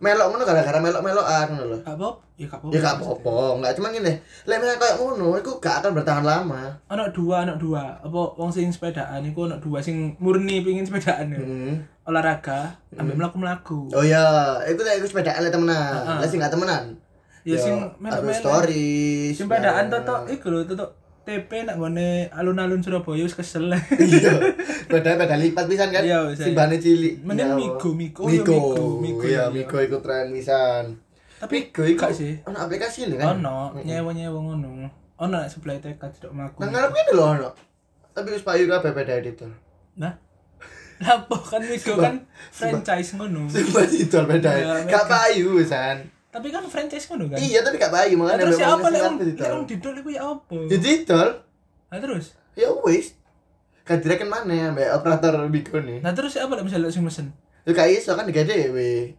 Speaker 2: melok ngono gara-gara melok-melokan ngono lho
Speaker 1: Gak apa-apa. Ya gak apa-apa.
Speaker 2: ya gak apa-apa enggak cuman ngene lek misalnya kayak ngono iku gak akan bertahan lama
Speaker 1: Anak dua, anak dua. Apa wong sing sepedaan iku anak dua sing murni pengin sepedaan ya.
Speaker 2: hmm.
Speaker 1: Olahraga ambek mlaku-mlaku.
Speaker 2: Oh iya, itu lah itu sepedaan lah temenan.
Speaker 1: Heeh.
Speaker 2: Lah sing gak temenan.
Speaker 1: Ya sing
Speaker 2: melu
Speaker 1: melok-melok.
Speaker 2: story.
Speaker 1: Sing padaan totok iku lho totok TP nak ngone alun-alun Surabaya wis kesel.
Speaker 2: Iya. Sepeda sepeda lipat pisan kan.
Speaker 1: Iya, bisa,
Speaker 2: Sing
Speaker 1: iya.
Speaker 2: bane cilik.
Speaker 1: Mending
Speaker 2: Ya,
Speaker 1: Migo, Migo. Oh, iya,
Speaker 2: Migo.
Speaker 1: Migo, Migo, iya.
Speaker 2: Iya, Migo iku tren pisan.
Speaker 1: Tapi
Speaker 2: Migo iku
Speaker 1: gak sih.
Speaker 2: Ono aplikasi ini kan.
Speaker 1: Ono nyewa-nyewa ngono. Ono nak sebelah tekad cedok maku.
Speaker 2: Nang ngarep kene lho ono. Tapi wis Pak Yura bebeda editor.
Speaker 1: Nah. Lapo kan Migo
Speaker 2: Sumpah.
Speaker 1: kan franchise ngono.
Speaker 2: Sing masih editor beda.
Speaker 1: Iya,
Speaker 2: Gak payu pisan.
Speaker 1: Tapi kan franchise ngono kan.
Speaker 2: Iya, tapi gak payu
Speaker 1: Nah,
Speaker 2: makanya
Speaker 1: terus ya
Speaker 2: memang
Speaker 1: apa
Speaker 2: sing
Speaker 1: lek
Speaker 2: ngarep
Speaker 1: wong-
Speaker 2: editor.
Speaker 1: lek wong didol iku ya apa?
Speaker 2: Editor.
Speaker 1: Nah terus.
Speaker 2: Ya wis. Kan direken mana mbak operator Migo nih.
Speaker 1: Nah terus ya apa lek misalnya lek sing mesen?
Speaker 2: Ya gak iso kan digede we.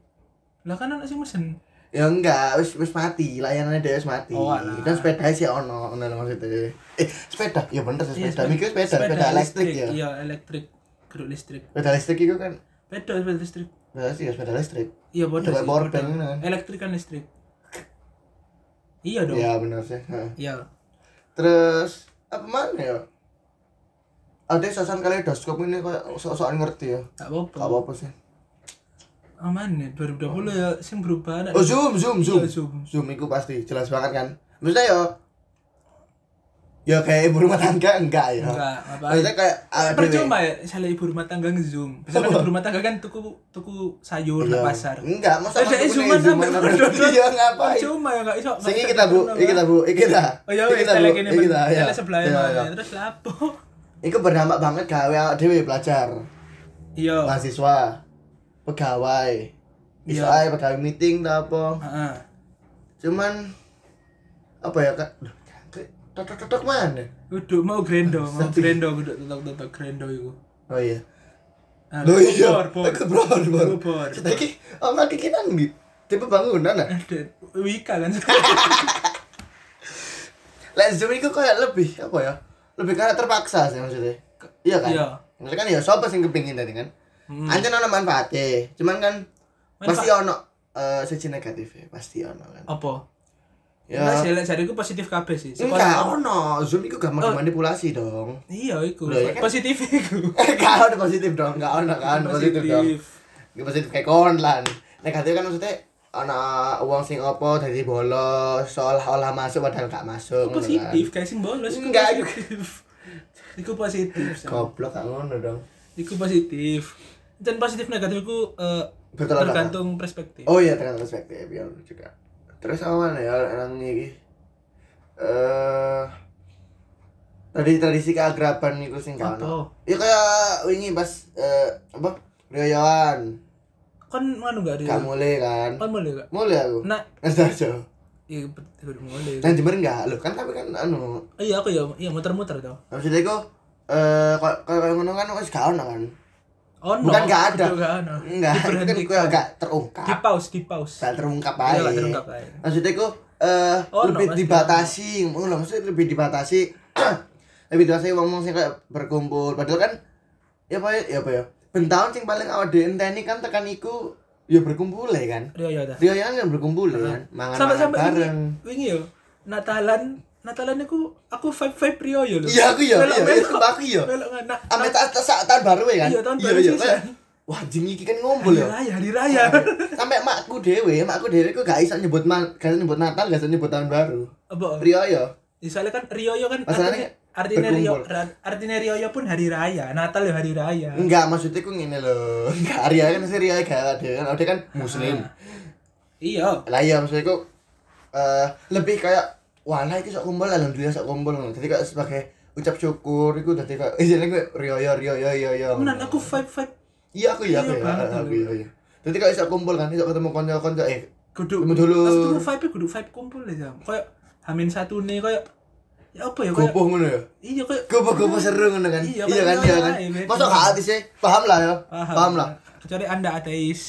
Speaker 1: Lah kan anak sing mesen.
Speaker 2: ya enggak wis wis mati layanannya dia wis mati
Speaker 1: Oh, alah.
Speaker 2: dan sepeda sih ono ngono lho maksudnya eh sepeda ya bener sih
Speaker 1: Iya,
Speaker 2: sepeda mikir sepeda sepeda elektrik ya
Speaker 1: Iya, elektrik. Geruk listrik.
Speaker 2: sepeda elektrik itu kan
Speaker 1: Beda sepeda listrik.
Speaker 2: nah, sih ya sepeda elektrik
Speaker 1: Iya bodoh
Speaker 2: Iya,
Speaker 1: sih.
Speaker 2: power
Speaker 1: bodoh.
Speaker 2: bank kan.
Speaker 1: Elektrik kan listrik. Iya dong.
Speaker 2: ya bener sih Heeh.
Speaker 1: Iya.
Speaker 2: terus apa mana ya ada sosan kaleidoskop ini kayak sok-sokan ngerti ya
Speaker 1: Tak apa-apa.
Speaker 2: gak apa-apa sih
Speaker 1: Aman ya 2020 ya sing berubah anak. Iya,
Speaker 2: oh zoom zoom zoom
Speaker 1: Zoom.
Speaker 2: zoom itu pasti jelas banget kan maksudnya ya ya kayak ibu rumah tangga enggak ya
Speaker 1: Enggak, apa.
Speaker 2: maksudnya kayak ah, awak dhewe.
Speaker 1: Percuma ya, misalnya ibu rumah tangga nge-zoom. Misalnya
Speaker 2: Apa?
Speaker 1: ibu rumah tangga kan tuku tuku sayur di
Speaker 2: Iya.
Speaker 1: pasar.
Speaker 2: enggak masa
Speaker 1: Eh, dia
Speaker 2: aku
Speaker 1: zooman
Speaker 2: punya
Speaker 1: sampai
Speaker 2: zooman
Speaker 1: berdua.
Speaker 2: apa? iya ngapain
Speaker 1: Percuma ya enggak iso.
Speaker 2: sini kita bu ini kita bu ini kita
Speaker 1: Oh ya
Speaker 2: Iki
Speaker 1: wis,
Speaker 2: kita, Bu.
Speaker 1: tele kene
Speaker 2: Iki kita ya
Speaker 1: tele sebelah
Speaker 2: Iya, iya.
Speaker 1: mana. Terus lapo?
Speaker 2: Iku berdampak banget gawe awak dhewe pelajar,
Speaker 1: Iya.
Speaker 2: mahasiswa, pegawai. Iso
Speaker 1: Iya.
Speaker 2: ae pegawai meeting ta apa.
Speaker 1: Heeh.
Speaker 2: Cuman apa ya Kak? Duh, kayak Tetek-tetek mana?
Speaker 1: Kudu mau grendo, mau grendo kudu tetok-tetok grendo iku.
Speaker 2: Oh iya.
Speaker 1: Ah,
Speaker 2: Loh iya.
Speaker 1: bor, bor.
Speaker 2: Aku bor bor.
Speaker 1: Aku bor,
Speaker 2: Kita iki omah iki nang ndi? Tipe bangunan ah.
Speaker 1: Ada Wika kan.
Speaker 2: Lek zoom iku kayak lebih apa ya? Lebih karena terpaksa sih maksudnya. Iya kan?
Speaker 1: Iya.
Speaker 2: Maksudnya kan ya sapa sing kepingin tadi kan?
Speaker 1: Hmm.
Speaker 2: Anjen ana manfaatnya. Cuman kan
Speaker 1: Manfaat-
Speaker 2: pasti ono eh sisi negatifnya pasti ono kan.
Speaker 1: Apa?
Speaker 2: Ya.
Speaker 1: Nah, sih, lek jariku positif kabeh sih.
Speaker 2: Enggak,
Speaker 1: Sekolah-
Speaker 2: ono. Zoom itu
Speaker 1: Oh.
Speaker 2: gampang manipulasi dong.
Speaker 1: Iya, iku.
Speaker 2: Loh, ya kan?
Speaker 1: Positif iku.
Speaker 2: Enggak ono positif dong, enggak ono enggak ono positif dong.
Speaker 1: Positif.
Speaker 2: Enggak positif kayak kon lan. Negatif kan maksudnya ono uang sing opo dari bolos seolah-olah masuk padahal enggak masuk. ngono kan.
Speaker 1: positif guys sing bolos iku
Speaker 2: Enggak, iku-
Speaker 1: positif iku positif Sam.
Speaker 2: Goblok gak ngono dong.
Speaker 1: iku positif dan positif negatif iku eh,
Speaker 2: Bertolak
Speaker 1: tergantung perspektif
Speaker 2: Oh iya tergantung perspektif ya juga. Terus apa mana ya orang ini? Eh tadi tradisi keakraban itu sing gak ono.
Speaker 1: Apa?
Speaker 2: Ya kayak wingi pas eh apa? Riyoan.
Speaker 1: kan nganu gak
Speaker 2: Gak
Speaker 1: ada
Speaker 2: mulai kan?
Speaker 1: kan boleh gak
Speaker 2: Mulai aku.
Speaker 1: nah
Speaker 2: Nang Sidoarjo.
Speaker 1: iya betul kudu mulai
Speaker 2: Nang Jember enggak loh, kan tapi kan anu.
Speaker 1: Oh, iya aku ya iya muter-muter tau
Speaker 2: Habis itu iku eh kalau kalau ngono kan wis gak ono kan.
Speaker 1: oh no
Speaker 2: Bukan gak ada.
Speaker 1: Kudu gak ono.
Speaker 2: Enggak, itu kan
Speaker 1: diberhentikan
Speaker 2: gue agak
Speaker 1: di
Speaker 2: terungkap.
Speaker 1: pause di pause
Speaker 2: Gak terungkap
Speaker 1: Iya,
Speaker 2: aja.
Speaker 1: gak terungkap aja.
Speaker 2: Maksudnya iku eh
Speaker 1: Oh, no,
Speaker 2: lebih
Speaker 1: pasti
Speaker 2: dibatasi, ngono maksudnya lebih dibatasi. lebih dibatasi wong-wong sing kayak berkumpul. Padahal kan ya apa ya, ya apa ya? Bentahun sing paling awak dhewe enteni kan tekan iku ya berkumpul ya kan.
Speaker 1: iya iya dah
Speaker 2: Dia kan berkumpul ya kan, mangan-mangan
Speaker 1: sampai-sampai ini
Speaker 2: bareng.
Speaker 1: wingi yo Natalan Natalan aku aku vibe vibe Rio yo lho
Speaker 2: Iya aku ya,
Speaker 1: Melok-
Speaker 2: iya, iya,
Speaker 1: melok-
Speaker 2: sumpah aku ya.
Speaker 1: melok ngana.
Speaker 2: Ame ta ta sa- tahun baru ya kan?
Speaker 1: Iya, tahun baru sih,
Speaker 2: kayak,
Speaker 1: San. Iya,
Speaker 2: Wah, anjing iki kan ngumpul
Speaker 1: hari
Speaker 2: ya.
Speaker 1: raya hari raya
Speaker 2: Sampai makku dhewe, makku dhewe ku gak iso nyebut ma- gak iso nyebut Natal, gak iso nyebut tahun baru.
Speaker 1: apa
Speaker 2: Rioyo.
Speaker 1: Ya, soalnya kan Rioyo kan artinya
Speaker 2: Masalahnya
Speaker 1: artinya Rio,
Speaker 2: berkumpul. Hmm.
Speaker 1: ra- artinya Rioyo pun hari raya, Natal ya hari raya.
Speaker 2: Enggak, maksudnya ku ngene lho. Enggak, Rio kan mesti Rio gak dhewe kan, dia kan muslim.
Speaker 1: Iya.
Speaker 2: Lah iya maksudnya ku eh lebih kayak wah lah iki sok kumpul alhamdulillah sok kumpul. Jadi kayak sebagai ucap syukur iku dadi kayak isine ku Rioyo Rioyo Rioyo.
Speaker 1: Menan aku vibe vibe
Speaker 2: Iya aku ya
Speaker 1: Iya
Speaker 2: aku ya.
Speaker 1: banget lho.
Speaker 2: Aku ya. iya. Jadi kalau iso kumpul kan, iso ketemu kanca-kanca eh
Speaker 1: kudu.
Speaker 2: Tunggu dulu.
Speaker 1: Maksudku vibe kudu vibe kumpul ya jam. Kayak Hamin satu nih kayak ya apa ya kayak
Speaker 2: gopoh ngono ya.
Speaker 1: iya kayak
Speaker 2: Gopoh-gopoh seru ngono kan.
Speaker 1: Iya,
Speaker 2: Iya,
Speaker 1: kan,
Speaker 2: kan,
Speaker 1: iya,
Speaker 2: iya kan.
Speaker 1: iya, iya.
Speaker 2: Masa gak hati sih? Paham lah ya.
Speaker 1: Paham.
Speaker 2: Paham lah.
Speaker 1: Kecuali Anda ateis.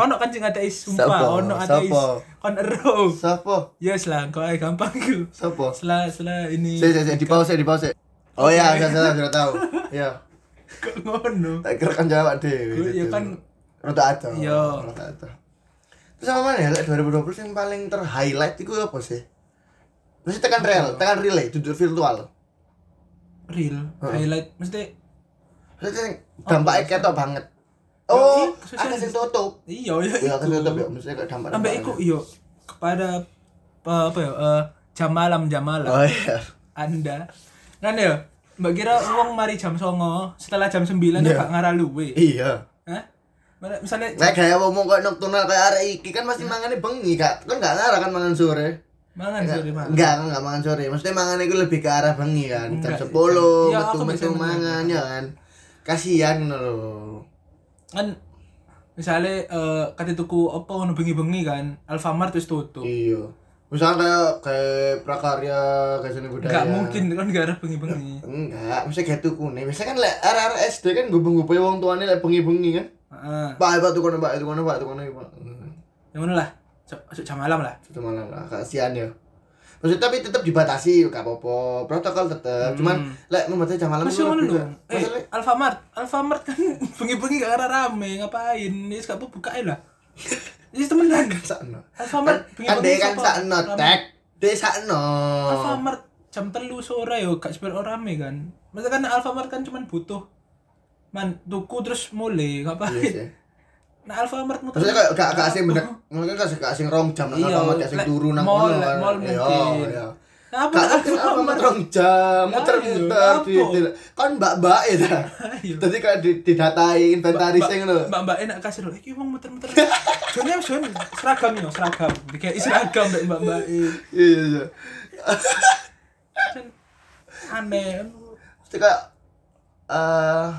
Speaker 1: ono kan sing ateis sumpah,
Speaker 2: Sopo?
Speaker 1: ono ateis.
Speaker 2: Sopo?
Speaker 1: Kon ero.
Speaker 2: Sopo?
Speaker 1: Yes lah, kok ae gampang ku.
Speaker 2: Sopo?
Speaker 1: Selah selah ini
Speaker 2: Saya saya di pause, di pause. Oh iya, saya saya sudah tahu. Iya.
Speaker 1: kok ngono.
Speaker 2: Tak kira kan jawab
Speaker 1: Gue-
Speaker 2: deh.
Speaker 1: ya kan.
Speaker 2: rada aja.
Speaker 1: Iya.
Speaker 2: Rada aja. Terus sama mana ya? Lek 2020 yang paling terhighlight itu apa sih? Mesti tekan real, tekan relay, jujur virtual.
Speaker 1: Real highlight mesti
Speaker 2: Mesti sing dampaknya ketok banget.
Speaker 1: Oh,
Speaker 2: Oh,
Speaker 1: iya,
Speaker 2: ada yang tutup.
Speaker 1: iya ya.
Speaker 2: Iya, kan tutup ya. Mesti kayak dampak.
Speaker 1: sampai iku iya. yo kepada apa apa ya eh, jam malam jam malam
Speaker 2: Oh iya.
Speaker 1: anda kan ya mbak kira uang mari jam songo setelah jam sembilan yeah.
Speaker 2: Iya.
Speaker 1: pak ngara luwe
Speaker 2: Iya.
Speaker 1: Hah? Mana- misalnya
Speaker 2: Nek kayak ngomong kayak nocturnal kayak arek iki kan pasti mangane bengi, Kak. Kan enggak ngarah kan mangan sore.
Speaker 1: mangan sore
Speaker 2: Enggak,
Speaker 1: mangan
Speaker 2: enggak kan enggak mangan sore. Maksudnya mangan itu lebih ke arah bengi kan.
Speaker 1: Enggak,
Speaker 2: Jam 10
Speaker 1: iya, aku
Speaker 2: metu-metu
Speaker 1: biasanya
Speaker 2: mangan ya kan. Kasihan ngono lho.
Speaker 1: kan misalnya eh kata tuku apa ngono bengi bengi kan Alfamart terus tutup
Speaker 2: Iya. Misalnya kayak kayak prakarya, kayak seni budaya.
Speaker 1: nggak mungkin kan nggak ada bengi bengi
Speaker 2: Enggak, mesti kayak tuku nih. Biasanya kan lek arah SD kan gubeng-gubeng wong tuane lek bengi-bengi kan.
Speaker 1: Heeh.
Speaker 2: Pak, pak tukono, pak tukono, pak tukono, pak. Hmm.
Speaker 1: yang mana lah Sok- sok jam malam lah
Speaker 2: Satu malam lah, kasihan ya. Maksudnya tapi tetap dibatasi, gak apa-apa. Protokol tetap. Cuman lek membatasi jam malam
Speaker 1: Hmm. Masih
Speaker 2: itu
Speaker 1: mana
Speaker 2: lebih
Speaker 1: dong?
Speaker 2: ke-
Speaker 1: Eh,
Speaker 2: Masalah
Speaker 1: Alfamart, Alfamart kan bengi-bengi gak ada rame, ngapain? Ini gak apa buka aja lah. Ini temenan.
Speaker 2: sakno. Kan
Speaker 1: Alfamart
Speaker 2: kan dia kan
Speaker 1: sopo?
Speaker 2: sakno
Speaker 1: Rame.
Speaker 2: tek. Dia sakno.
Speaker 1: Alfamart jam telu sore yo gak sepiro rame kan. Maksudnya kan Alfamart kan cuman butuh man tuku terus mulai
Speaker 2: Iya
Speaker 1: ngapain?
Speaker 2: sih.
Speaker 1: Nah Alfamart muter. Ah.
Speaker 2: Maksudnya kayak gak gak asing bener. Mungkin gak gak asing rong jam
Speaker 1: Iya,
Speaker 2: nang gak asing
Speaker 1: lek
Speaker 2: turu nang
Speaker 1: mall,
Speaker 2: kono
Speaker 1: lek
Speaker 2: kan.
Speaker 1: mall
Speaker 2: Iya,
Speaker 1: mungkin.
Speaker 2: iya.
Speaker 1: Kan Apa iya,
Speaker 2: Gak
Speaker 1: nak
Speaker 2: ngerti apa metrong jam, muter-muter
Speaker 1: Ayo,
Speaker 2: di di- kan mbak-mbak ya ta.
Speaker 1: Ayo.
Speaker 2: Tadi kan di- didatai inventarisnya ngono.
Speaker 1: Iya. Mbak Mbak enak kasih lho. Iki wong muter-muter. Jone wis jone seragam yo, seragam. Dikai seragam mbak Mbak Mbak.
Speaker 2: Iya iya, iya.
Speaker 1: Jan, Aneh.
Speaker 2: Terus kayak eh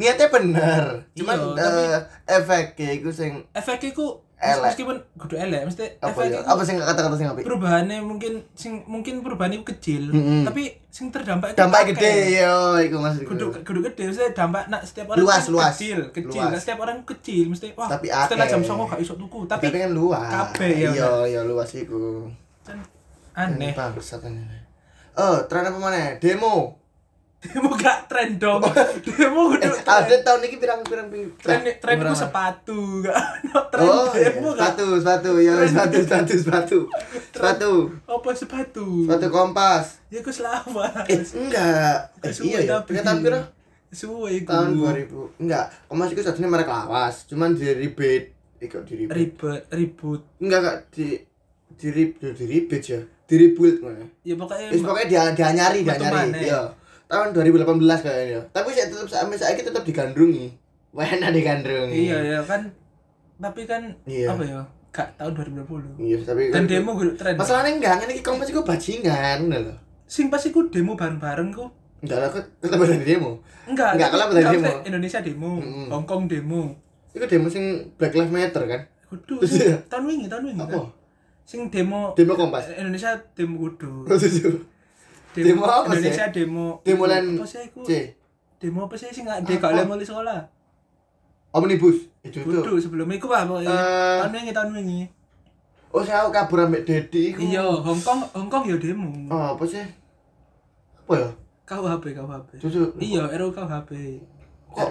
Speaker 2: niatnya bener. Cuman
Speaker 1: Iya, tapi-
Speaker 2: eh efeknya itu sing
Speaker 1: Efeknya ku
Speaker 2: Elek.
Speaker 1: meskipun kudu elek, mesti
Speaker 2: apa
Speaker 1: efeknya
Speaker 2: ya?
Speaker 1: ku-
Speaker 2: Apa sing kata-kata sing apik?
Speaker 1: perubahannya mungkin sing mungkin perubahannya ku kecil,
Speaker 2: Mm-mm.
Speaker 1: tapi sing terdampak
Speaker 2: Dampak gede yo iku maksudku.
Speaker 1: Kudu kudu gede mesti dampak nak setiap orang
Speaker 2: Luas,
Speaker 1: kan
Speaker 2: luas.
Speaker 1: kecil, kecil.
Speaker 2: Luas.
Speaker 1: Nah, setiap orang kecil mesti wah
Speaker 2: Tapi
Speaker 1: setelah
Speaker 2: akeh.
Speaker 1: jam 09.00 gak iso tuku, tapi,
Speaker 2: tapi kan luas.
Speaker 1: kabeh ya,
Speaker 2: Iya iya luas iku.
Speaker 1: kan aneh.
Speaker 2: Bangsat ini. Oh, tren apa mana? Demo.
Speaker 1: Demo gak tren dong. Demo
Speaker 2: Eh,
Speaker 1: kudu
Speaker 2: update tahun ini pirang-pirang
Speaker 1: tren
Speaker 2: pirang.
Speaker 1: tren ku
Speaker 2: sepatu.
Speaker 1: sepatu gak ono tren
Speaker 2: Oh, iya.
Speaker 1: demo gak
Speaker 2: sepatu, sepatu, ya sepatu, sepatu, sepatu. Sepatu,
Speaker 1: apa sepatu
Speaker 2: sepatu kompas.
Speaker 1: ya ku selamat
Speaker 2: Eh, enggak. Eh,
Speaker 1: Suwe
Speaker 2: iya ya.
Speaker 1: tapi.
Speaker 2: Punya tahun piro?
Speaker 1: suwe ku
Speaker 2: Tahun 2000. Enggak, kompas itu satunya merek lawas, cuman di rebate. Eh, kok di rebate?
Speaker 1: ribet ribut
Speaker 2: Enggak, Kak, di di rebate, di rebate ya. Di rebuild mana?
Speaker 1: ya pokoknya
Speaker 2: Terus pokoknya dia dia nyari, dia
Speaker 1: Metu
Speaker 2: nyari.
Speaker 1: maneh.
Speaker 2: Iya. Tahun 2018 kayaknya. iya. Tapi saya tetap sampai saya tetap digandrungi. Wena digandrungi.
Speaker 1: iya ya kan tapi kan
Speaker 2: Iya.
Speaker 1: apa ya gak tahun 2020
Speaker 2: Iya, tapi
Speaker 1: dan demo gue tren
Speaker 2: Masalahnya enggak, kan ini kompas iku bajingan, ngono lho.
Speaker 1: sing pasti ku demo bareng-bareng ku
Speaker 2: Enggak lah, kok tetap ada di demo.
Speaker 1: enggak
Speaker 2: Enggak,
Speaker 1: tapi-
Speaker 2: kalau bener
Speaker 1: enggak,
Speaker 2: demo.
Speaker 1: maksudnya Indonesia demo
Speaker 2: Mm-mm.
Speaker 1: Hong Kong demo
Speaker 2: Iku demo sing Black Lives Matter kan?
Speaker 1: kudu
Speaker 2: Iya.
Speaker 1: tahun wingi tahun wingi
Speaker 2: Apa?
Speaker 1: kan? sing demo
Speaker 2: Demo kompas.
Speaker 1: Indonesia demo kudu
Speaker 2: Setuju. Demo apa sih?
Speaker 1: Indonesia demo
Speaker 2: Demo lan
Speaker 1: apa sih aku
Speaker 2: C.
Speaker 1: demo apa sih sing gak dek
Speaker 2: Apa?
Speaker 1: oleh mulai sekolah
Speaker 2: Omnibus. Itu itu.
Speaker 1: kudu sebelum iku apa pokoknya
Speaker 2: Eh,
Speaker 1: tahun wingi tahun wingi
Speaker 2: oh saya kabur ambek Dedi iku.
Speaker 1: iya Hong Kong Hong Kong ya demo
Speaker 2: Oh, apa sih? Apa ya?
Speaker 1: KUHP KUHP
Speaker 2: Cucu.
Speaker 1: iya RUU KUHP
Speaker 2: Kok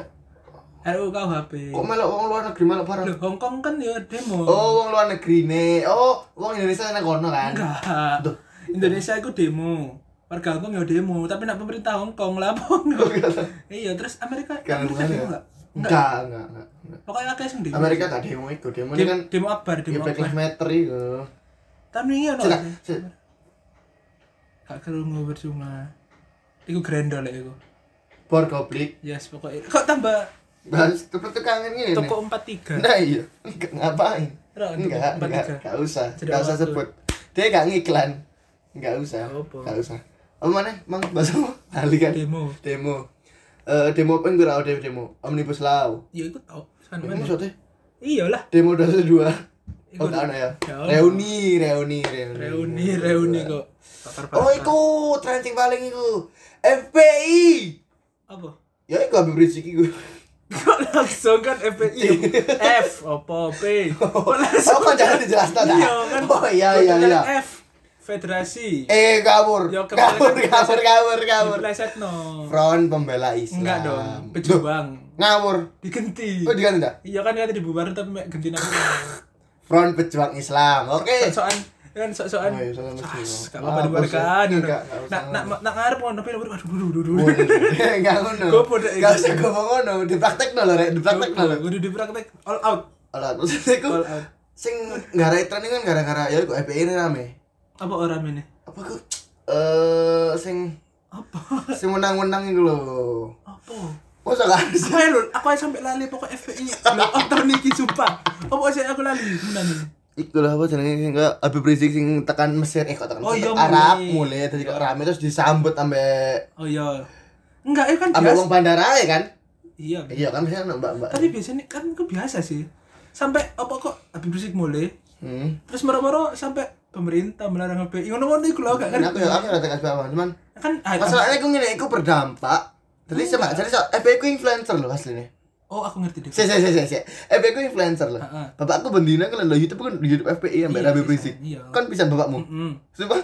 Speaker 1: RUU KUHP
Speaker 2: kok melok wong luar negeri melok barang?
Speaker 1: Loh, Hong Kong kan ya demo
Speaker 2: Oh, wong luar negeri ne. Oh, wong Indonesia nang kono kan.
Speaker 1: enggak
Speaker 2: Duh.
Speaker 1: Indonesia itu demo warga Hong Kong ya demo tapi nak pemerintah Hong Kong lah
Speaker 2: Oh,
Speaker 1: pokoknya. iya terus Amerika
Speaker 2: Kan
Speaker 1: Amerika
Speaker 2: bukan
Speaker 1: demo
Speaker 2: ya?
Speaker 1: nggak
Speaker 2: Enggak, enggak, enggak. enggak.
Speaker 1: pokoknya kayak sendiri
Speaker 2: Amerika gak demo iku, demo ini
Speaker 1: demo,
Speaker 2: kan
Speaker 1: demo akbar
Speaker 2: ya
Speaker 1: demo
Speaker 2: Black
Speaker 1: akbar
Speaker 2: Lives Matter iku.
Speaker 1: Oh, tahun ini ya
Speaker 2: Cedak, cedak.
Speaker 1: gak kerungu percuma itu grendol ya itu
Speaker 2: Bor goblik.
Speaker 1: yes pokoknya kok tambah
Speaker 2: Bahas tukang-tukangan ini.
Speaker 1: toko 43
Speaker 2: Nah iya, enggak ngapain?
Speaker 1: Ra, untuk
Speaker 2: Enggak,
Speaker 1: empat
Speaker 2: enggak,
Speaker 1: tiga.
Speaker 2: enggak usah,
Speaker 1: Jeda
Speaker 2: enggak usah
Speaker 1: waktu.
Speaker 2: sebut. Dia enggak ngiklan, enggak usah,
Speaker 1: Nggak apa.
Speaker 2: enggak usah. Apa mana, mang bahasa apa? Ahli kan?
Speaker 1: demo
Speaker 2: Demo, Eh, demo apa yang gue rau demo? demo? Omnibus Law.
Speaker 1: ya itu tau
Speaker 2: Ini
Speaker 1: Sana-mana.
Speaker 2: maksudnya
Speaker 1: iya lah
Speaker 2: demo dua dua.
Speaker 1: Iku
Speaker 2: Oh, enggak ada ya?
Speaker 1: Nggak ada.
Speaker 2: Reuni, reuni, reuni.
Speaker 1: reuni reuni kok
Speaker 2: Oh, iku trending paling iku. FPI.
Speaker 1: apa
Speaker 2: Ya iku Habib Rizik iku.
Speaker 1: kok langsung kan
Speaker 2: Iya.
Speaker 1: FPI F opo P kok langsung
Speaker 2: Oh, kan jangan dijelaskan dah.
Speaker 1: Iya, kan. eh.
Speaker 2: Oh, iya iya
Speaker 1: Kebetulan
Speaker 2: iya.
Speaker 1: F Federasi
Speaker 2: Eh kabur,
Speaker 1: Ya, kemarin
Speaker 2: kabur,
Speaker 1: kan
Speaker 2: kabur, kabur, kabur.
Speaker 1: Pleset no
Speaker 2: Front pembela Islam.
Speaker 1: Enggak dong Pejuang
Speaker 2: Duh, Ngawur.
Speaker 1: Digenti
Speaker 2: Oh diganti Eh. dah.
Speaker 1: Iya kan kata dibubarin tapi mek genti nama
Speaker 2: Front pejuang Islam. Oke.
Speaker 1: Sok-sokan kan sok-sokan
Speaker 2: Oh, iya, sok-sokan
Speaker 1: Ah, gak
Speaker 2: pejuang.
Speaker 1: apa-apa Nah,
Speaker 2: Ah,
Speaker 1: dibubarkan
Speaker 2: bos, enggak, enggak usah.
Speaker 1: Nak nak nak ngarep ngono tapi lho, aduh aduh aduh
Speaker 2: Oh,
Speaker 1: aduh
Speaker 2: Enggak ngono.
Speaker 1: Gopo, Dek.
Speaker 2: Enggak usah gopo ngono, dipraktek no lho, Rek, dipraktek no lho.
Speaker 1: Kudu dipraktek all out
Speaker 2: Alah, maksudnya iku
Speaker 1: all out
Speaker 2: sing ngarai tren kan gara-gara ya iku FPI ini rame.
Speaker 1: apa orang ini
Speaker 2: Apa ku eh sing
Speaker 1: apa
Speaker 2: sing menang-menang iku lho.
Speaker 1: apa
Speaker 2: Masa gak harus?
Speaker 1: Saya lho, aku aja sampai lali pokoknya FPI Lho, oh tahun ini sumpah Apa sih aku lali? Bener nih
Speaker 2: Iku lah apa jenenge sing kok Habib Rizik sing tekan Mesir eh kok tekan
Speaker 1: Oh,
Speaker 2: Mesir,
Speaker 1: iya,
Speaker 2: Arab
Speaker 1: mulai.
Speaker 2: mulai tadi kok rame terus disambut ambek
Speaker 1: Oh iya Enggak, itu kan
Speaker 2: ambek
Speaker 1: biasa
Speaker 2: wong bandara ya kan?
Speaker 1: Iya
Speaker 2: Iya kan biasanya anak mbak-mbak.
Speaker 1: Tapi biasanya kan itu biasa sih Sampai apa kok Habib Rizik mulai
Speaker 2: Hmm.
Speaker 1: Terus moro-moro sampai pemerintah melarang FPI Ngono-ngono iku lho, gak
Speaker 2: Kan
Speaker 1: ngerti
Speaker 2: aku ya aku rada kasih paham, cuman
Speaker 1: Kan ah,
Speaker 2: masalahnya aku ngene iku berdampak. Jadi
Speaker 1: Iya.
Speaker 2: sama jadi so, FB ku influencer loh aslinya.
Speaker 1: Oh aku ngerti deh
Speaker 2: Si si si si si. FB ku influencer loh.
Speaker 1: Heeh.
Speaker 2: Bapakku bendina kan lo YouTube kan YouTube FPI yang
Speaker 1: Iya,
Speaker 2: Mbak Habib
Speaker 1: sih,
Speaker 2: Rizik.
Speaker 1: iya.
Speaker 2: Kan bisa bapakmu.
Speaker 1: Hmm,
Speaker 2: Sumpah.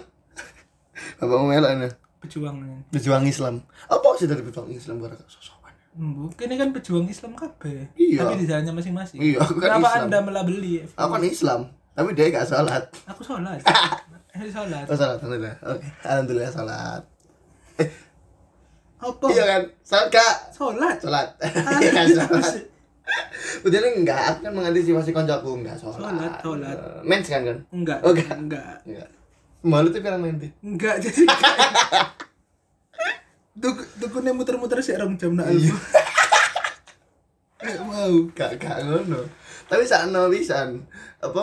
Speaker 2: Bapakmu melok ana.
Speaker 1: pejuang nih.
Speaker 2: Pejuang Islam. Apa sih dari pejuang Islam gara sosokan?
Speaker 1: Hmm, Kini kan pejuang Islam kabeh.
Speaker 2: Iya.
Speaker 1: Tapi di jalannya masing-masing.
Speaker 2: Iya, aku kan
Speaker 1: Kenapa
Speaker 2: Islam.
Speaker 1: Anda melabeli? FPI?
Speaker 2: Aku kan Islam, tapi dia gak sholat.
Speaker 1: Aku sholat. Aku sholat.
Speaker 2: Oh sholat, alhamdulillah. Oke, alhamdulillah sholat. Eh,
Speaker 1: Apa?
Speaker 2: iya kan? Sholat kak?
Speaker 1: Sholat.
Speaker 2: Sholat.
Speaker 1: Ah,
Speaker 2: Iya kan sholat.
Speaker 1: apa sih?
Speaker 2: Udah nih enggak, aku kan mengantisipasi koncoku enggak sholat.
Speaker 1: Sholat, sholat.
Speaker 2: Eh, Mens kan kan?
Speaker 1: Enggak.
Speaker 2: Oh, enggak.
Speaker 1: Enggak.
Speaker 2: Enggak. Malu tuh pirang menti.
Speaker 1: Enggak jadi. Tuk tukune muter-muter sih rong jam nak
Speaker 2: Iya.
Speaker 1: album. Eh, wow.
Speaker 2: Gak gak ngono. Tapi sakno pisan. Apa?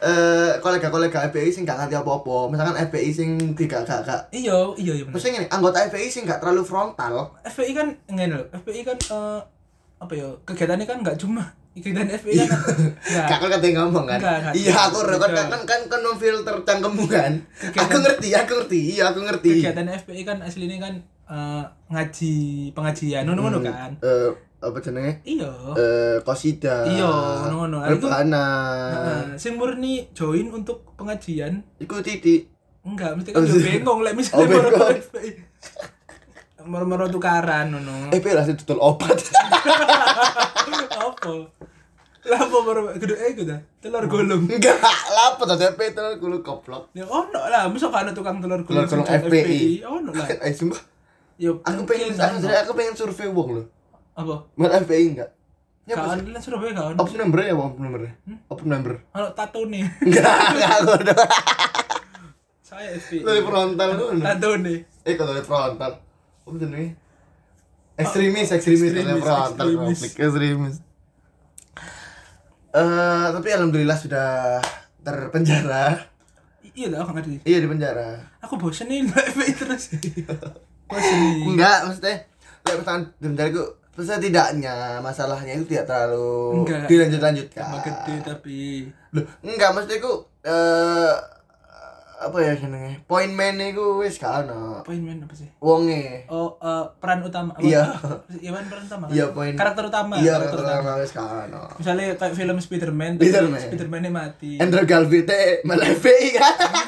Speaker 2: Eh kolega-kolega FPI sing gak ngerti apa-apa. Misalkan FPI sing gak gak gak.
Speaker 1: Iya, iya iya bener.
Speaker 2: Maksudnya gini, anggota FPI sing gak terlalu frontal.
Speaker 1: FPI kan ngene lho. FPI kan eh, apa ya? Kegiatannya kan enggak cuma kegiatan FPI
Speaker 2: Iya.
Speaker 1: kan. Enggak.
Speaker 2: Kakak katanya ngomong kan?
Speaker 1: Enggak, enggak.
Speaker 2: Iya aku rekod
Speaker 1: Enggak.
Speaker 2: kan kan kan, kan memfilter cangkemmu kan.
Speaker 1: Kegiatan-
Speaker 2: Aku ngerti, aku ngerti, iya aku ngerti.
Speaker 1: Kegiatan FPI kan aslinya kan eh, ngaji pengajian ngono-ngono kan.
Speaker 2: Eh apa jenenge?
Speaker 1: Iya.
Speaker 2: Eh kosida.
Speaker 1: Iya, ngono-ngono. Lah, itu-
Speaker 2: Rebana.
Speaker 1: Heeh, sing murni join untuk pengajian
Speaker 2: Iku titik.
Speaker 1: enggak mesti kan
Speaker 2: Oh,
Speaker 1: yo
Speaker 2: sih.
Speaker 1: bengong lek
Speaker 2: Oh,
Speaker 1: misalnya
Speaker 2: bengong.
Speaker 1: moro-moro FPI. moro-moro tukaran ngono.
Speaker 2: Eh, lah tutul obat.
Speaker 1: apa lah apa baru gede eh gitu telur
Speaker 2: Hmm.
Speaker 1: gulung
Speaker 2: Enggak, lapor tadi FPI terus kulo koplok.
Speaker 1: ya ono lah masa kan ada tukang telur gulung
Speaker 2: Telur gulung
Speaker 1: sejak
Speaker 2: FPI.
Speaker 1: ono Oh, lah
Speaker 2: Eh sumpah,
Speaker 1: ya
Speaker 2: aku
Speaker 1: mungkin
Speaker 2: pengen aku,
Speaker 1: ono.
Speaker 2: aku pengen survei wong loh.
Speaker 1: apa
Speaker 2: Buat FPI enggak? Ya
Speaker 1: kawan
Speaker 2: apa sih?
Speaker 1: lah Surabaya kawan
Speaker 2: Apa number ya, apa number?
Speaker 1: Hmm?
Speaker 2: Apa number?
Speaker 1: ono tato nih
Speaker 2: Enggak, enggak aku udah.
Speaker 1: saya FPI
Speaker 2: Lu di frontal lu.
Speaker 1: tato nih
Speaker 2: Eh kalau dari frontal. Apa jenenge? Ekstremis, ekstremis dari
Speaker 1: Ekstremis,
Speaker 2: frontal
Speaker 1: ekstremis.
Speaker 2: konflik ekstremis. Eh, tapi alhamdulillah sudah terpenjara.
Speaker 1: I- iya lah aku nggak ngerti
Speaker 2: Iya di penjara.
Speaker 1: aku bosen nih lah FPI terus bosen nih
Speaker 2: Enggak, maksudnya kayak pertanyaan bentar itu maksudnya tidaknya masalahnya itu tidak terlalu
Speaker 1: Enggak.
Speaker 2: dilanjut-lanjutkan.
Speaker 1: sama gede tapi
Speaker 2: Loh, enggak maksudnya itu eh apa ya jenenge? Poin main iku wis gak ono.
Speaker 1: poin main apa sih
Speaker 2: Wonge.
Speaker 1: oh eh, peran utama apa?
Speaker 2: Iya.
Speaker 1: iya kan peran utama kan?
Speaker 2: Iya, poin.
Speaker 1: karakter utama
Speaker 2: Iya, terutama wis gak ono.
Speaker 1: misalnya kayak film Spiderman
Speaker 2: Spiderman.
Speaker 1: Spiderman mati
Speaker 2: Andrew Garfield teh malah FPI kan.